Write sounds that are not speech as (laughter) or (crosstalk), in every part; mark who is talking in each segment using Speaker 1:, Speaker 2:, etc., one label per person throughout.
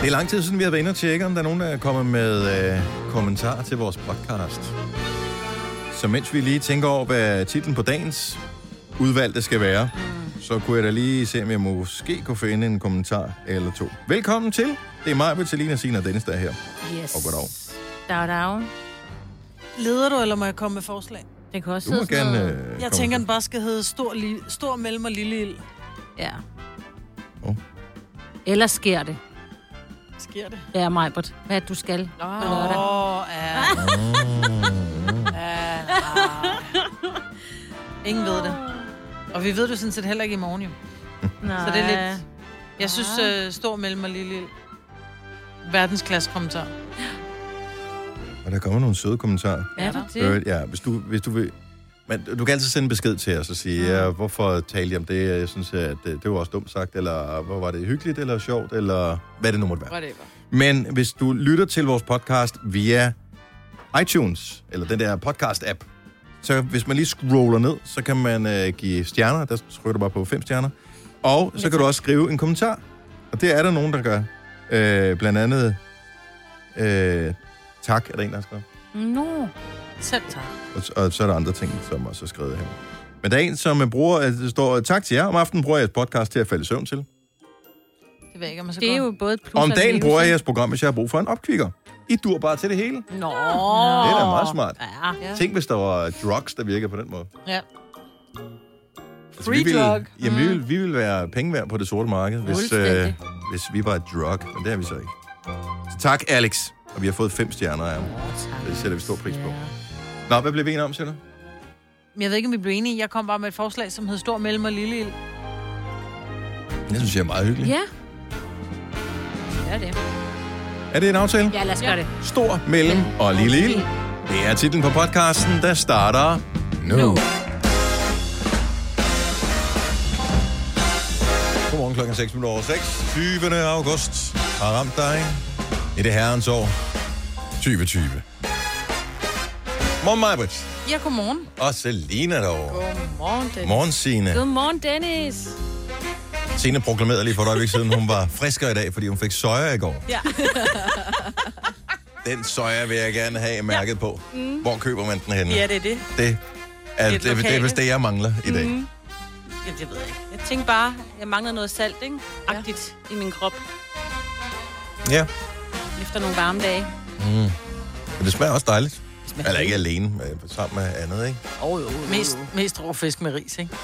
Speaker 1: Det er lang tid siden, vi har været inde og tjekke, om der er nogen, der er kommet med øh, kommentarer til vores podcast. Så mens vi lige tænker over, hvad titlen på dagens udvalgte skal være, så kunne jeg da lige se, om jeg måske kunne finde en kommentar eller to. Velkommen til. Det er mig, Vitalina, Signe og Dennis, der er her.
Speaker 2: Yes.
Speaker 1: Og goddag.
Speaker 2: Dag, dag.
Speaker 3: Leder du, eller må jeg komme med forslag?
Speaker 2: Det kan også
Speaker 1: Du må
Speaker 2: sidde sådan
Speaker 1: gerne...
Speaker 2: noget-
Speaker 3: Jeg
Speaker 1: Øh, komme
Speaker 3: tænker,
Speaker 1: med.
Speaker 3: den bare skal hedde Stor, li- stor Mellem og Lille Ild.
Speaker 2: Ja.
Speaker 1: Åh.
Speaker 2: Eller sker det?
Speaker 3: Sker det?
Speaker 2: Ja, Majbert. Hvad er det, du skal på
Speaker 4: (laughs)
Speaker 2: lørdag?
Speaker 3: Åh, ja. Ja. Ingen ved det. Og vi ved det jo sådan set heller ikke i morgen, jo.
Speaker 2: Nej.
Speaker 3: Så det er lidt... Jeg synes, øh, Stor Mellem og Lille Ild. Verdensklasse kommentar.
Speaker 1: Og der kommer nogle søde kommentarer.
Speaker 2: Er du det?
Speaker 1: Øh, ja, hvis du, hvis du vil... Men du kan altid sende en besked til os og sige, mm. ja, hvorfor talte I om det? Jeg synes, at øh, det, det var også dumt sagt, eller hvor var det hyggeligt, eller sjovt, eller hvad det nu måtte være.
Speaker 3: Whatever.
Speaker 1: Men hvis du lytter til vores podcast via iTunes, eller den der podcast-app, så hvis man lige scroller ned, så kan man øh, give stjerner. Der trykker du bare på fem stjerner. Og så kan du også skrive en kommentar. Og det er der nogen, der gør. Øh, blandt andet... Øh, tak, er der en, der har skrevet.
Speaker 2: Nå.
Speaker 3: Selv tak.
Speaker 1: Og, og så er der andre ting, som også er skrevet her. Men der er en, som øh, bruger, øh, der står, tak til jer, om aftenen bruger jeg jeres podcast til at falde i søvn til.
Speaker 3: Det ved jeg ikke, om jeg skal
Speaker 2: Det er
Speaker 3: gå.
Speaker 2: jo både et plus
Speaker 1: Og om
Speaker 2: og et
Speaker 1: dagen
Speaker 2: minus,
Speaker 1: bruger jeg
Speaker 2: ikke?
Speaker 1: jeres program, hvis jeg har brug for en opkvikker. I dur bare til det hele. Det
Speaker 2: Nå.
Speaker 1: er da meget smart.
Speaker 2: Ja.
Speaker 3: Ja.
Speaker 1: Tænk, hvis der var drugs, der virkede på den måde.
Speaker 3: Ja.
Speaker 1: Altså, vi ville, Jamen, vi ville, vi ville være penge værd på det sorte marked, hvis, øh,
Speaker 2: Mm. Fuldstændig.
Speaker 1: hvis vi var et drug. Men det er vi så ikke. Så tak, Alex. Og vi har fået fem stjerner af ham. Det sætter vi stor pris på. Nå, hvad blev vi enige om, siger du?
Speaker 3: Men jeg ved ikke, om vi blev enige. Jeg kom bare med et forslag, som hed Stor Mellem og Lille Ild.
Speaker 1: Det synes jeg er meget hyggeligt.
Speaker 2: Ja. Ja, det.
Speaker 1: Er det en aftale?
Speaker 2: Ja, lad os gøre det.
Speaker 1: Stor, mellem og lille ild. Det er titlen på podcasten, der starter nu. nu. Godmorgen klokken 6 minutter over 6. 20. august har ramt dig i det herrens år 2020. Morgen, Majbert.
Speaker 3: Ja, godmorgen.
Speaker 1: Og Selina derovre.
Speaker 3: Godmorgen, det
Speaker 1: Morgen, Signe.
Speaker 2: Godmorgen, Dennis.
Speaker 1: Signe proklamerede lige for et øjeblik siden, hun var friskere i dag, fordi hun fik soja i går.
Speaker 3: Ja.
Speaker 1: Den soja vil jeg gerne have mærket på.
Speaker 2: Mm.
Speaker 1: Hvor køber man den henne?
Speaker 3: Ja, det er det.
Speaker 1: Det er, det,
Speaker 3: Et
Speaker 1: det, det er
Speaker 3: lokale.
Speaker 1: vist det, jeg mangler i dag. Mm.
Speaker 3: Ja, det ved jeg ikke.
Speaker 4: Jeg tænkte bare, jeg mangler noget salt, ikke? Agtigt ja. i min krop
Speaker 1: Ja, Mm.
Speaker 4: efter nogle varme dage.
Speaker 1: men det smager også dejligt. Eller ikke alene, men sammen med andet, ikke?
Speaker 3: Mest, mest rå fisk med ris, ikke?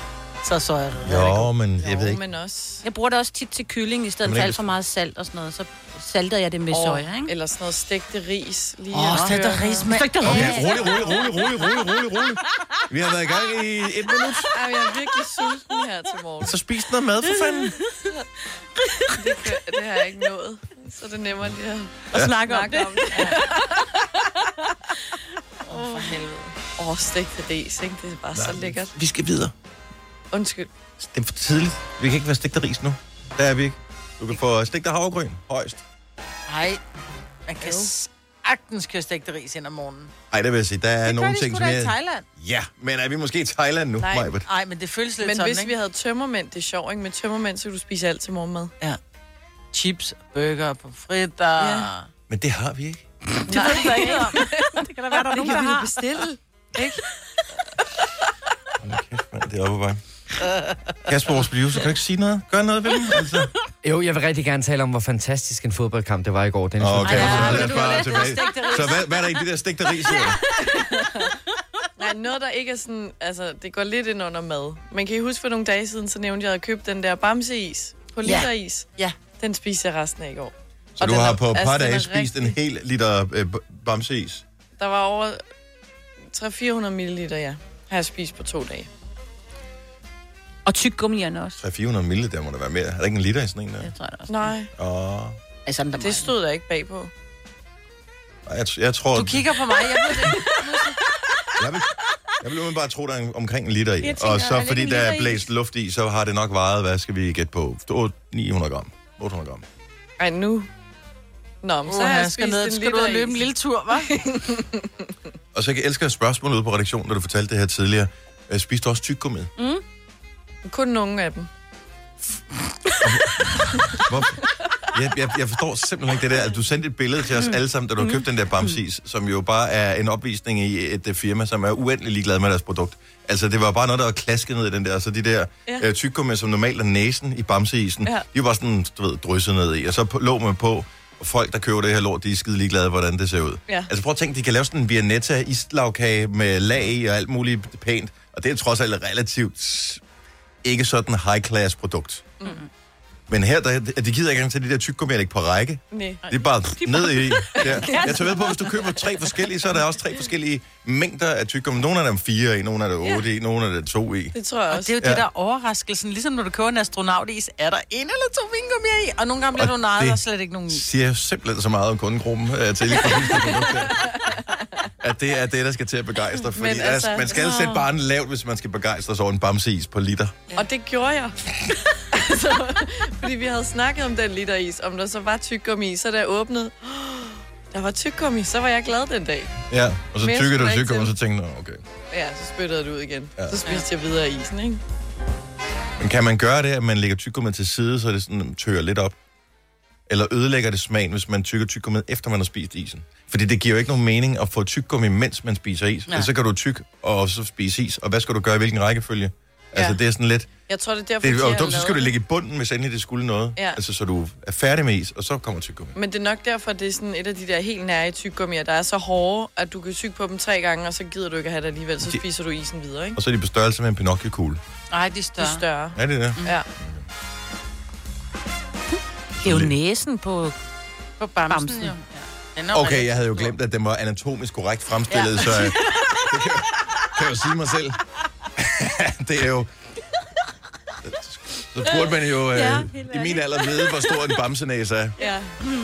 Speaker 3: Så så jeg det.
Speaker 1: Jo, men jeg ved
Speaker 5: Jo,
Speaker 1: ikke.
Speaker 5: men også...
Speaker 4: Jeg bruger det også tit til kylling, i stedet
Speaker 1: Jamen,
Speaker 4: for
Speaker 1: ikke
Speaker 4: alt for meget salt og sådan noget. Så salter jeg det med oh. soja, ikke?
Speaker 5: Eller sådan noget stegte ris. Lige
Speaker 3: Åh,
Speaker 5: at
Speaker 3: så er der
Speaker 5: høre.
Speaker 3: ris med...
Speaker 4: Stegte
Speaker 1: Okay, rolig, rolig, rolig, rolig, rolig, rolig, rolig. Vi har været i gang i et minut.
Speaker 5: Ej, jeg er virkelig sulten her til morgen.
Speaker 1: Så spis noget mad, for fanden.
Speaker 5: Det, kan, det har jeg ikke nået. Så er det er nemmere lige at
Speaker 4: og snakker om
Speaker 5: snakke
Speaker 4: det.
Speaker 5: om det. Ja. Åh, for helvede. Åh, stegte ris, ikke? Det er bare så lækkert.
Speaker 1: Vi skal videre.
Speaker 5: Undskyld.
Speaker 1: Det er for tidligt. Vi kan ikke være stegt af ris nu. Der er vi ikke. Du kan få stegt af havregryn, højst.
Speaker 3: Nej, man kan sagtens køre stegte ris ind om morgenen.
Speaker 1: Ej, det vil jeg sige. Der er
Speaker 3: Det
Speaker 1: nogle
Speaker 3: gør de
Speaker 1: ting,
Speaker 3: sgu
Speaker 1: som
Speaker 3: da i
Speaker 1: jeg...
Speaker 3: Thailand.
Speaker 1: Ja, men er vi måske i Thailand nu,
Speaker 5: Nej.
Speaker 1: Majbet?
Speaker 3: Nej, men det føles lidt
Speaker 5: Men
Speaker 3: sådan,
Speaker 5: hvis
Speaker 3: ikke?
Speaker 5: vi havde tømmermænd, det er sjovt, ikke? Med tømmermænd, så kunne du spise alt til morgenmad.
Speaker 3: Chips, burger, pomfritter...
Speaker 5: Ja.
Speaker 3: Ja.
Speaker 1: Men det har vi ikke.
Speaker 3: Det ved jeg ikke om. Det kan da være, der er nogen, der
Speaker 5: vi da
Speaker 3: har.
Speaker 5: bestille.
Speaker 1: Hold da kæft, mand, det er oppe på vej. Kasper, vores producer, kan du ikke sige noget? Gør noget ved dem, altså.
Speaker 6: (laughs) Jo, jeg vil rigtig gerne tale om, hvor fantastisk en fodboldkamp det var i går. Den
Speaker 1: Okay,
Speaker 3: Ej,
Speaker 1: så
Speaker 3: ja,
Speaker 1: lad
Speaker 3: men
Speaker 1: os
Speaker 3: du
Speaker 1: bare
Speaker 3: ved, det er
Speaker 1: tilbage.
Speaker 3: stegte ris.
Speaker 1: Så hvad, hvad er der i det der stegte ris her?
Speaker 5: Nej, noget, der ikke er sådan... Altså, det går lidt ind under mad. Men kan I huske, for nogle dage siden, så nævnte jeg, at jeg havde købt den der bamseis på literis.
Speaker 3: Ja.
Speaker 5: Den spiser jeg resten af i går.
Speaker 1: Så
Speaker 5: Og
Speaker 1: du
Speaker 5: den
Speaker 1: har
Speaker 5: er-
Speaker 1: på et par
Speaker 5: altså, den
Speaker 1: dage
Speaker 5: er
Speaker 1: spist en
Speaker 5: rigtig-
Speaker 1: hel liter øh, b- bamseis.
Speaker 5: Der var over 300-400 ml, ja. Har jeg spist på to dage.
Speaker 4: Og tyggegummierne også.
Speaker 1: 300-400 ml, der må der være mere. Er der ikke en liter i sådan en der?
Speaker 4: Det tror jeg også.
Speaker 5: Nej,
Speaker 1: Åh,
Speaker 4: Altså, der
Speaker 5: det stod der ikke bagpå.
Speaker 1: Ej, jeg, jeg tror...
Speaker 3: Du kigger på mig, jeg ved det. ikke.
Speaker 1: Jeg vil, jeg vil bare tro, der er omkring en liter i.
Speaker 5: Jeg tænker,
Speaker 1: og
Speaker 5: er
Speaker 1: så
Speaker 5: der
Speaker 1: fordi
Speaker 5: ikke
Speaker 1: der
Speaker 5: en
Speaker 1: er
Speaker 5: liter i?
Speaker 1: blæst luft i, så har det nok vejet, hvad skal vi gætte på? 800 900 gram. 800 gram.
Speaker 5: (laughs) Ej, nu... Nå, men så har
Speaker 3: Uha,
Speaker 5: jeg
Speaker 3: skal
Speaker 5: spist
Speaker 3: ned,
Speaker 5: en
Speaker 3: skal du ud
Speaker 5: liter
Speaker 3: og løbe en
Speaker 5: is.
Speaker 3: lille tur, hva'?
Speaker 5: (laughs)
Speaker 1: Og så jeg elsker spørgsmålet ude på redaktionen, da du fortalte det her tidligere. Øh, Spiste du også tyggegummi? Mm.
Speaker 5: Kun nogle af dem.
Speaker 1: Hvor, Jeg, jeg, jeg forstår simpelthen ikke det der. Altså, du sendte et billede til os alle sammen,
Speaker 5: Mm.
Speaker 1: da du købte den der bamsis, som jo bare er en opvisning i et øh, firma, som er uendelig ligeglad med deres produkt. Altså, det var bare noget, der var klasket ned i den der, og så de der ja.
Speaker 5: Ja.
Speaker 1: øh, tyggegummi, som normalt er næsen i bamseisen, ja.
Speaker 5: Ja.
Speaker 1: de var bare sådan, du ved, drysset ned i, og så på- lå man på, og folk, der køber det her lort, de er skide ligeglade, hvordan det ser ud.
Speaker 5: Ja.
Speaker 1: Altså prøv at tænke, de kan lave sådan en Vianetta islagkage med lag i og alt muligt pænt, og det er trods alt et relativt s- ikke sådan high-class produkt. Mm. Men her, der, de gider ikke engang til de der tyggegummi, ikke på række.
Speaker 5: Nej.
Speaker 1: Det er bare
Speaker 7: (laughs)
Speaker 1: ned i. Ja. Jeg tager ved på, hvis du køber tre forskellige, så er der også tre forskellige mængder af tyggegummi. Nogle af dem fire i, nogle af dem otte i, nogle af dem to i.
Speaker 5: Det tror jeg
Speaker 3: Og det er
Speaker 5: også.
Speaker 3: jo det,
Speaker 1: Ja.
Speaker 3: der er overraskelsen. Ligesom når du køber en astronautis, er der en eller to vingummier i, og nogle gange bliver
Speaker 1: Og
Speaker 3: du nejet,
Speaker 1: det-
Speaker 3: der er slet ikke nogen i.
Speaker 1: Siger simpelthen så meget om kundegruppen øh, til lige præcis det produkt her. at det er det, der skal til at begejstre. Fordi
Speaker 5: Men
Speaker 1: altså,
Speaker 5: altså-
Speaker 1: man skal altså sætte barnet lavt, hvis man skal begejstres over en bamseis på liter.
Speaker 5: Og det gjorde jeg. (laughs) altså, fordi vi havde snakket om den literis, om der så var tyggegummi i, så da jeg åbnede, der var tyggegummi, så var jeg glad den dag.
Speaker 1: Ja, og så
Speaker 5: Men jeg
Speaker 1: tykker du
Speaker 5: skulle ikke
Speaker 1: tykker, og
Speaker 5: til.
Speaker 1: så tænker du, "Nå, okay.
Speaker 5: Ja, så spyttede jeg det ud igen.
Speaker 1: Ja.
Speaker 5: Ja. Så spiste jeg videre isen, ikke?
Speaker 1: Men kan man gøre det, at man lægger tyggegummi til side, så det sådan tørrer lidt op? Eller ødelægger det smagen, hvis man tykker tyggegummi, efter man har spist isen? Fordi det giver jo ikke nogen mening at få tyggegummi, mens man spiser is.
Speaker 3: Nej.
Speaker 1: Ja. Så kan du tykke og så spise is. Og hvad skal du gøre i hvilken rækkefølge? Altså,
Speaker 5: Ja.
Speaker 1: det er sådan lidt...
Speaker 5: Jeg tror, det er derfor,
Speaker 1: Det er
Speaker 5: de
Speaker 1: jo
Speaker 5: har
Speaker 1: dumt, så
Speaker 5: lavet
Speaker 1: skal du ligge i bunden, hvis endelig det skulle noget.
Speaker 5: Ja. Mm.
Speaker 1: Altså, så du er færdig med is, og så kommer tyggegummi.
Speaker 5: Men det er nok derfor, det er sådan et af de der helt nære tyggegummier, der er så hårde, at du kan tygge på dem tre gange, og så gider du ikke at have det alligevel, så
Speaker 1: Det-
Speaker 5: spiser du isen videre, ikke?
Speaker 1: Og så er de på størrelse med en Pinocchio-kugle.
Speaker 3: Nej, de er
Speaker 5: Det er
Speaker 3: større.
Speaker 5: større.
Speaker 1: Er det det?
Speaker 5: Ja.
Speaker 4: Det er jo næsen på...
Speaker 3: På bamsen,
Speaker 4: Bamsen.
Speaker 3: bamsen. jo. Ja. Den er
Speaker 1: Okay,
Speaker 3: rigtig
Speaker 1: jeg havde jo
Speaker 3: stor.
Speaker 1: glemt, at den var anatomisk korrekt fremstillet, ja. så (laughs) øh, det kan, kan jeg jo sige mig selv. (laughs) det er jo... Så burde man jo øh, ja, i min alder vide, hvor stor en bamsenæse er.
Speaker 5: ja.
Speaker 1: Mm,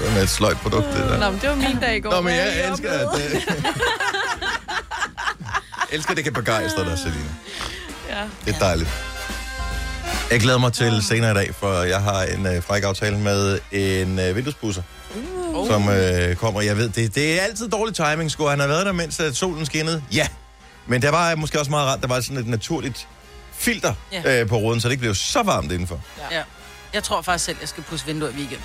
Speaker 1: Det er et sløjt produkt, det der.
Speaker 5: Nå, men det var min dag i går.
Speaker 1: Nå,
Speaker 5: Hvad
Speaker 1: men
Speaker 5: har I
Speaker 1: jeg elsker,
Speaker 5: oplevet?
Speaker 1: at... Øh, (laughs) elsker, at det kan begejstre dig, Selina.
Speaker 5: Ja.
Speaker 1: Det er dejligt. Jeg glæder mig til senere i dag, for jeg har en øh, fræk aftale med en øh, vinduespusser, uh. som øh, kommer. Jeg ved, det, det er altid dårlig timing. Skulle han have været der, mens at solen skinnede? Ja. Men der var måske også meget rart, der var sådan et naturligt filter
Speaker 3: Ja.
Speaker 1: øh, på ruden, så det ikke blev så varmt indenfor.
Speaker 3: Ja. Jeg tror faktisk selv, jeg skal pusse vinduer i weekenden.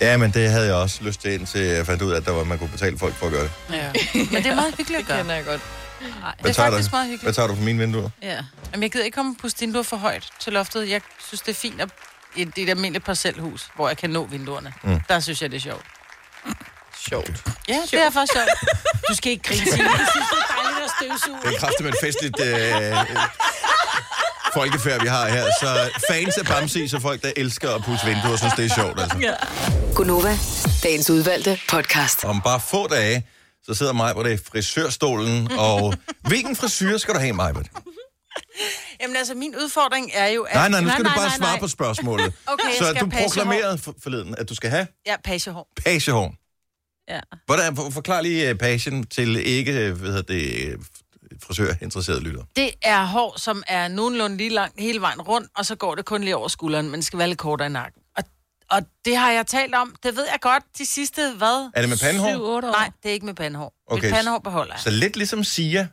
Speaker 1: Ja, men det havde jeg også lyst til, indtil jeg fandt ud af, at der var, man kunne betale folk for at gøre det.
Speaker 3: Ja. (laughs) Men det er meget hyggeligt at
Speaker 5: Det
Speaker 3: gøre.
Speaker 5: kender jeg godt.
Speaker 3: Det er
Speaker 1: tager
Speaker 3: faktisk
Speaker 1: du?
Speaker 3: meget
Speaker 1: Hvad
Speaker 3: hyggeligt.
Speaker 1: tager du for mine vinduer?
Speaker 3: Ja. Jamen, jeg gider ikke komme og pusse vinduer for højt til loftet. Jeg synes, det er fint at i et, et almindeligt parcelhus, hvor jeg kan nå vinduerne. Mm. Der synes jeg, det er sjovt.
Speaker 5: Sjovt.
Speaker 3: Ja, det er faktisk sjovt. Du skal ikke grine, Signe. Jeg synes, det er dejligt at støvsuge.
Speaker 1: Det er kraftigt med et festligt øh, øh, folkefærd, vi har her. Så fans af Bamsi, så folk, der elsker at pusse vinduer, synes, det er sjovt. Altså.
Speaker 8: Gunova, dagens udvalgte podcast.
Speaker 1: Om bare få dage, så sidder mig på det i frisørstolen, og hvilken frisyr skal du have, mig?
Speaker 3: Jamen altså, min udfordring er jo, at...
Speaker 1: Nej, nej, nu skal du
Speaker 3: nej,
Speaker 1: bare
Speaker 3: nej,
Speaker 1: svare
Speaker 3: nej.
Speaker 1: på spørgsmålet.
Speaker 3: (laughs) Okay, jeg
Speaker 1: så
Speaker 3: skal
Speaker 1: du
Speaker 3: pagehår.
Speaker 1: proklamerede for- forleden, at du skal have
Speaker 3: Ja, pagehår.
Speaker 1: pagehorn.
Speaker 4: Ja.
Speaker 1: Hvordan, for- forklar lige øh, pagen til ikke øh, hvad hedder det, øh, frisørinteresserede lyttere.
Speaker 3: Det er hår, som er nogenlunde lige langt hele vejen rundt, og så går det kun lige over skulderen, men skal være lidt kortere i nakken. Og, og det har jeg talt om, det ved jeg godt, de sidste, hvad?
Speaker 1: Er det med pandehår?
Speaker 4: 7-8 år.
Speaker 3: Nej, det er ikke med pandehår. Okay.
Speaker 1: Okay,
Speaker 3: Mit pandehår beholder jeg.
Speaker 1: Så lidt ligesom Sia,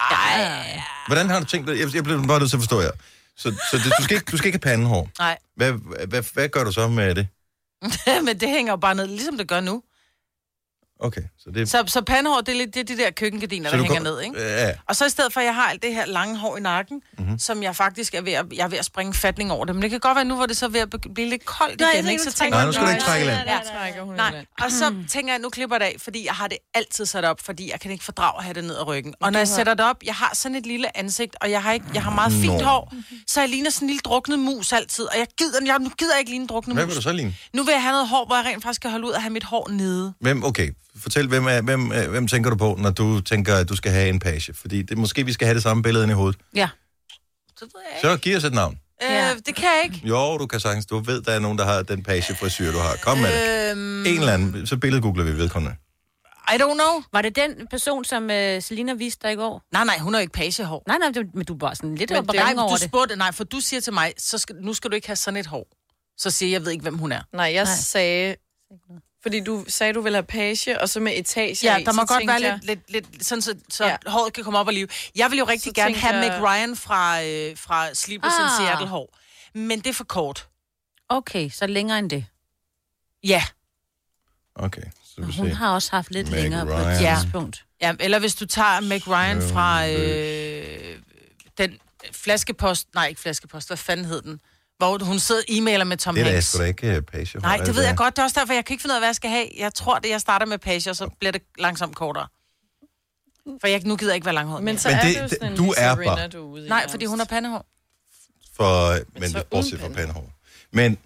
Speaker 3: Ej,
Speaker 1: Hvordan har du tænkt det? Jeg, jeg blev bare nødt til at forstå jer. Så, så det, du, skal ikke, du skal ikke have pandehår.
Speaker 3: nej. (laughs)
Speaker 1: Hvad, hvad, hvad, hvad gør du så med det?
Speaker 3: men det hænger jo bare ned, ligesom det gør nu.
Speaker 1: Okay, så det...
Speaker 3: Så, så pandehår, det er, lidt, det er de der køkkengardiner,
Speaker 1: så
Speaker 3: der
Speaker 1: du
Speaker 3: hænger
Speaker 1: går-
Speaker 3: ned, ikke?
Speaker 1: Ja,
Speaker 3: Og så i stedet for, at jeg har alt det her lange hår i nakken,
Speaker 1: Mhm.
Speaker 3: mm-hmm. som jeg faktisk er ved at, jeg er ved at springe fatning over det. Men det kan godt være nu, hvor det så er ved at be- blive lidt koldt
Speaker 4: Nej,
Speaker 3: igen,
Speaker 4: jeg
Speaker 3: ikke? Så
Speaker 4: tænker,
Speaker 3: tænker
Speaker 1: Nej,
Speaker 3: jeg,
Speaker 1: nu skal du ikke trække land.
Speaker 5: Ja, trækker hun
Speaker 3: Nej,
Speaker 5: ind.
Speaker 3: og så tænker jeg, nu klipper jeg det af, fordi jeg har det altid sat op, fordi jeg kan ikke fordrage at have det ned ad ryggen. Og når jeg sætter det op, jeg har sådan et lille ansigt, og jeg har, ikke, jeg har meget fint
Speaker 1: Nå.
Speaker 3: hår, så jeg ligner sådan en lille druknet mus altid, og jeg gider, jeg, nu gider jeg ikke ligne en druknet
Speaker 1: Hvad
Speaker 3: mus.
Speaker 1: vil du så ligne?
Speaker 3: Nu vil jeg have noget hår, hvor jeg rent faktisk kan holde ud og have mit hår nede.
Speaker 1: Hvem, okay, fortæl, hvem, er, hvem, er- hvem tænker du på, når du tænker, at du skal have en page? Fordi det, måske vi skal have det samme billede inde i hovedet.
Speaker 3: Ja. Så ved jeg ikke.
Speaker 1: Så giv os et navn.
Speaker 3: Ja. Øh, det kan jeg ikke.
Speaker 1: Jo, du kan sagtens. Du ved, der er nogen, der har den page frisyr, du har. Kom med det.
Speaker 3: Øhm,
Speaker 1: En eller anden. Så billedgoogler vi vedkommende.
Speaker 3: I don't know.
Speaker 4: Var det den person, som
Speaker 2: øh,
Speaker 4: uh, Selina viste dig i går?
Speaker 3: Nej, nej, hun har jo ikke pagehår.
Speaker 4: Nej, nej, det- men du var sådan lidt
Speaker 5: Men
Speaker 4: op og
Speaker 5: det er
Speaker 3: Nej,
Speaker 4: gang
Speaker 3: men
Speaker 4: over
Speaker 3: du
Speaker 4: det.
Speaker 3: spurgte, nej, for du siger til mig, så skal, nu skal du ikke have sådan et hår. Så siger jeg, jeg ved ikke, hvem hun er.
Speaker 5: Nej, jeg sagde, Fordi du sagde, du ville have page, og så med etage
Speaker 3: Ja,
Speaker 5: i,
Speaker 3: der må
Speaker 5: så
Speaker 3: godt
Speaker 5: tænkte
Speaker 3: være
Speaker 5: jeg-
Speaker 3: lidt, lidt, lidt sådan, så, så
Speaker 5: Ja.
Speaker 3: ja. håret kan komme op og live. Jeg vil jo rigtig
Speaker 5: Så
Speaker 3: gerne
Speaker 5: tænkte
Speaker 3: have
Speaker 5: jeg-
Speaker 3: Meg Ryan fra, øh, fra Sleepless ah. in
Speaker 9: Ah.
Speaker 3: Seattle hår. Men det er for kort.
Speaker 9: Okay, så længere end det.
Speaker 3: Ja.
Speaker 1: Okay, så vi
Speaker 9: Hun
Speaker 1: se.
Speaker 9: har også haft lidt
Speaker 1: Meg
Speaker 9: længere på et
Speaker 1: Ryan.
Speaker 3: Ja.
Speaker 9: tidspunkt.
Speaker 3: ja. Eller hvis du tager Meg Ryan
Speaker 1: Søvnløs.
Speaker 3: fra øh, den flaskepost... Nej, ikke flaskepost. Hvad fanden hed den? Hvor hun sidder og e-mailer med Tom
Speaker 1: Det er da
Speaker 3: Hanks.
Speaker 1: sgu da ikke øh, page.
Speaker 3: Nej, det ved jeg godt. Det er også derfor, jeg kan ikke finde ud af, hvad jeg skal have. Jeg tror, det jeg starter med page, og så bliver det langsomt kortere. For jeg, nu gider jeg ikke være langhåret
Speaker 5: Men
Speaker 3: Men
Speaker 5: så
Speaker 1: Men
Speaker 5: er
Speaker 1: det-
Speaker 5: det, jo
Speaker 1: det-
Speaker 5: sådan en
Speaker 1: du
Speaker 5: Lisa
Speaker 1: er
Speaker 5: Rinna,
Speaker 1: bare-
Speaker 5: du er ude i
Speaker 3: Nej, fordi
Speaker 5: nærmest.
Speaker 3: hun har pandehår.
Speaker 1: For, men,
Speaker 5: så
Speaker 1: men
Speaker 5: uden
Speaker 1: bortset fra
Speaker 5: pande.
Speaker 1: pandehår. Men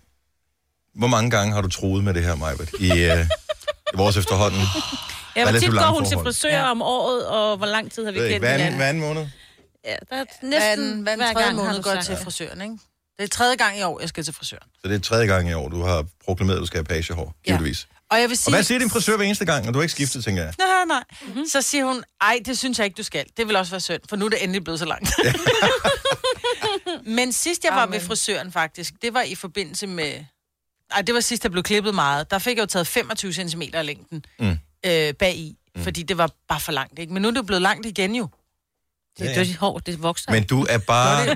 Speaker 1: hvor mange gange har du troet med det her, Majbert, i, øh, i vores efterhånden?
Speaker 2: Ja, hvor
Speaker 1: Relativt
Speaker 2: tit går
Speaker 1: lange
Speaker 2: hun til
Speaker 1: forhold.
Speaker 2: frisør om året, og hvor lang tid har vi
Speaker 1: Ved ikke,
Speaker 2: kendt
Speaker 1: hver, anden,
Speaker 2: hinanden?
Speaker 1: hver anden måned?
Speaker 2: Ja, der er næsten
Speaker 3: Hvad er den, hvad er den
Speaker 2: hver
Speaker 3: tredje
Speaker 2: gang, har
Speaker 3: måned
Speaker 2: du
Speaker 3: går jeg
Speaker 2: sagt.
Speaker 3: til frisøren, ikke? Det er tredje gang i år, jeg skal til
Speaker 2: (laughs)
Speaker 3: frisøren.
Speaker 1: Så det er tredje gang i år, du har proklameret, at du skal have pagehår,
Speaker 3: Ja.
Speaker 1: givetvis. Ja.
Speaker 3: Og jeg vil
Speaker 1: Og
Speaker 3: sige...
Speaker 1: hvad siger din frisør hver eneste gang, og du har ikke skiftet, tænker jeg?
Speaker 3: Nej, nej, nej. Mm-hmm. Så siger hun, ej, det synes jeg ikke, du skal. Det vil også være synd, for nu er det endelig blevet så langt. (laughs) Men sidst jeg var Amen. ved frisøren faktisk, det var i forbindelse med... Ej, det var sidst, jeg blev klippet meget. Der fik jeg jo taget 25 cm af længden
Speaker 1: Mm.
Speaker 3: øh, bagi, mm. fordi det var bare for langt, ikke? Men nu er det jo blevet langt igen jo.
Speaker 1: Ja,
Speaker 9: Det,
Speaker 1: ja.
Speaker 9: det hår, det vokser.
Speaker 1: Men du er bare...
Speaker 3: Gør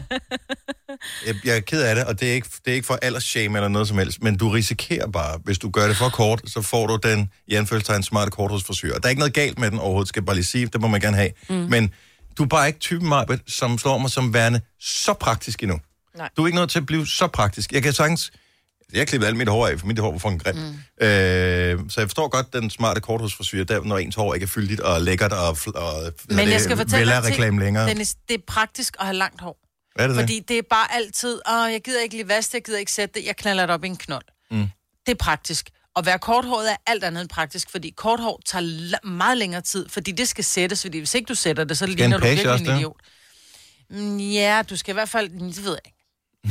Speaker 1: jeg, jeg er ked af det, og det er ikke, det er ikke for aldersshame eller noget som helst, men du risikerer bare, hvis du gør det for kort, så får du den i anførselstegn smarte kort hos frisør. Og der er ikke noget galt med den overhovedet, skal jeg bare lige sige, det må man gerne have. Mm. Men du er bare ikke typen, Marbet, som slår mig som værende så praktisk endnu.
Speaker 5: Nej.
Speaker 1: Du er ikke nødt til at blive så praktisk. Jeg kan sagtens... Jeg klippede alt mit hår af, for mit hår var fucking grimt. Mm. Øh, så jeg forstår godt den smarte kort hos frisyrer, der, når ens hår ikke er fyldigt og lækkert og, fl- og
Speaker 3: Men jeg skal fortælle dig en ting,
Speaker 1: reklame længere.
Speaker 3: Dennis, det er praktisk at have langt hår.
Speaker 1: er det
Speaker 3: Fordi det er bare altid, åh, jeg gider ikke lige vaske det, jeg gider ikke sætte det, jeg knaller det op i en knold. Mm. Det er praktisk. Og være korthåret er alt andet end praktisk, fordi korthår tager la- meget længere tid, fordi det skal sættes, fordi hvis ikke du sætter det, så ligner
Speaker 1: en
Speaker 3: du
Speaker 1: page
Speaker 3: virkelig
Speaker 1: også
Speaker 3: en
Speaker 1: det?
Speaker 3: idiot. Mm, Ja, du skal i hvert fald, det ved jeg ikke.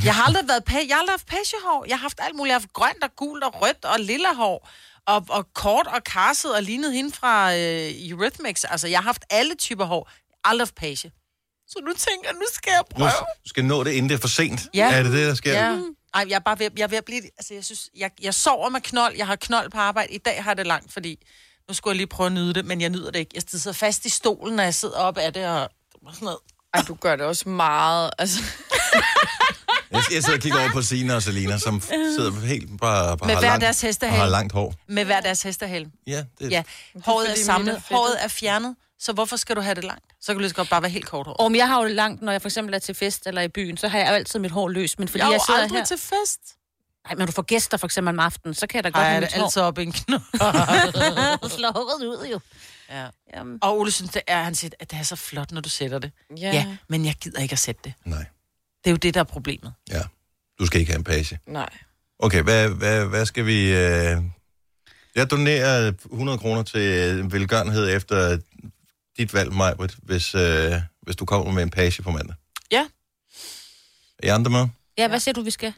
Speaker 3: Jeg har aldrig været pæ- jeg har aldrig haft pagehår. Jeg har haft alt muligt. Jeg har haft grønt og gult og rødt og lilla hår. Og, og kort og karset og lignet hende fra øh, Eurythmics. Altså, jeg har haft alle typer hår. Aldrig haft page. Så nu tænker jeg, nu skal jeg
Speaker 1: Nu
Speaker 3: prøve.
Speaker 1: du skal nå det, inden det er for sent.
Speaker 3: Ja.
Speaker 1: Er det det, der sker?
Speaker 3: Ja. Ej, jeg er bare ved, jeg er ved at blive... Altså, jeg synes, jeg, jeg sover med knold. Jeg har knold på arbejde. I dag har jeg det langt, fordi nu skulle jeg lige prøve at nyde det, men jeg nyder det ikke. Jeg sidder fast i stolen, når jeg sidder op af det og og sådan noget.
Speaker 5: Ej, du gør det også meget. Altså,
Speaker 1: Jeg, jeg sidder og kigger over på Sina og Selina, som f- sidder helt bare, bare
Speaker 3: Med
Speaker 1: har
Speaker 3: hver
Speaker 1: langt,
Speaker 3: deres hestehale.
Speaker 1: og har langt hår.
Speaker 3: Med hver deres hestehælm.
Speaker 1: Ja, det,
Speaker 3: Ja,
Speaker 1: ja.
Speaker 3: håret er
Speaker 5: fordi, mit er
Speaker 3: samlet,
Speaker 5: fedtet.
Speaker 3: håret er fjernet, så hvorfor skal du have det
Speaker 2: (laughs)
Speaker 3: langt? Så kan du lige så godt bare være helt kort hår.
Speaker 2: Om jeg har jo langt, når jeg for eksempel er til fest eller i byen, så har jeg jo altid mit hår løst. Men fordi
Speaker 3: Jeg er
Speaker 2: jeg,
Speaker 3: jo
Speaker 2: sidder
Speaker 3: aldrig
Speaker 2: her...
Speaker 3: til fest.
Speaker 2: Nej, men når du får gæster for eksempel om aftenen, så kan jeg da godt
Speaker 3: Ej, er
Speaker 2: have
Speaker 3: det
Speaker 2: mit hår.
Speaker 3: altid op i en knold.
Speaker 2: (laughs) slå håret ud jo.
Speaker 3: Ja.
Speaker 2: Jamen.
Speaker 3: Og Ole synes, det er, han siger, at det er så flot, når du sætter det.
Speaker 5: ja.
Speaker 3: Ja, men jeg gider ikke at sætte det.
Speaker 1: Nej,
Speaker 3: Det er jo det, der er problemet.
Speaker 1: ja. Du skal ikke have en page.
Speaker 5: Nej.
Speaker 1: Okay, hvad, hvad, hvad skal vi... Øh... Jeg donerer 100 kroner til øh, velgørenhed efter dit valg, Majbrit, hvis, øh, hvis du kommer med en page på mandag.
Speaker 3: Ja.
Speaker 1: Er I andre med?
Speaker 2: Ja, hvad siger du, vi skal?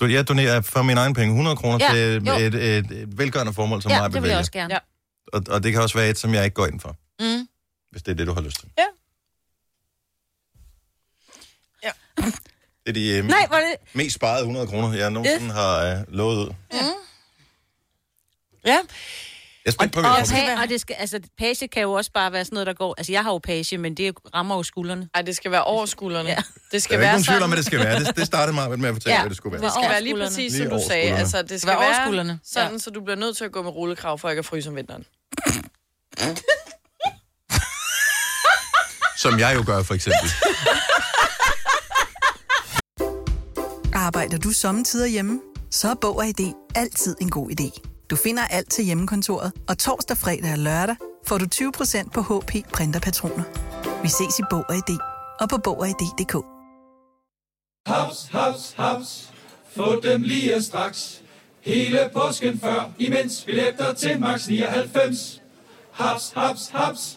Speaker 1: Du, jeg donerer for min egen penge 100 kroner
Speaker 2: Ja,
Speaker 1: ja, til
Speaker 2: jo.
Speaker 1: et, et, et velgørende formål, som
Speaker 2: ja, det
Speaker 1: Majbrit
Speaker 2: vil
Speaker 1: vælger.
Speaker 2: jeg også gerne.
Speaker 5: Ja.
Speaker 2: Ja.
Speaker 1: Og, og det kan også være et, som jeg ikke går ind for.
Speaker 3: Mm.
Speaker 1: Hvis det er det, du har lyst til.
Speaker 5: Ja.
Speaker 3: Ja.
Speaker 1: Det er de øh,
Speaker 2: Nej, var det...
Speaker 1: mest sparede 100 kroner, jeg nogensinde har øh, lovet ud.
Speaker 3: Ja,
Speaker 1: Jeg er spændt på,
Speaker 2: Og,
Speaker 1: hvad jeg
Speaker 2: page, og det skal, altså, page kan jo også bare være sådan noget, der går... Altså, jeg har jo page, men det rammer jo skuldrene.
Speaker 5: Ej, det skal være over skuldrene.
Speaker 2: Ja.
Speaker 5: Det
Speaker 1: Der
Speaker 5: skal
Speaker 1: er ikke
Speaker 5: være
Speaker 1: nogen tvivl om,
Speaker 5: sådan.
Speaker 1: hvad det skal være. Det, det startede meget med at fortælle, ja.
Speaker 2: Ja.
Speaker 1: hvad det skulle være.
Speaker 5: Det skal
Speaker 2: Over
Speaker 5: være lige
Speaker 2: skuldrene.
Speaker 5: præcis,
Speaker 1: Lige
Speaker 5: som du
Speaker 1: over
Speaker 5: sagde.
Speaker 1: skuldrene.
Speaker 5: Altså, det skal
Speaker 3: være over
Speaker 5: være
Speaker 3: skuldrene.
Speaker 5: sådan, så du bliver nødt til at gå med rullekrav for ikke at fryse om vinteren.
Speaker 1: Som jeg jo gør, for eksempel.
Speaker 4: Arbejder du sommetider hjemme? Så er Bog og ID altid en god idé. Du finder alt til hjemmekontoret, og torsdag, fredag og lørdag får du 20% på HP Printerpatroner. Vi ses i Bog og ID og på Bog og ID.dk.
Speaker 10: Haps, haps, haps. Få dem lige straks. Hele påsken før, imens billetter til max 99. Haps, haps, haps.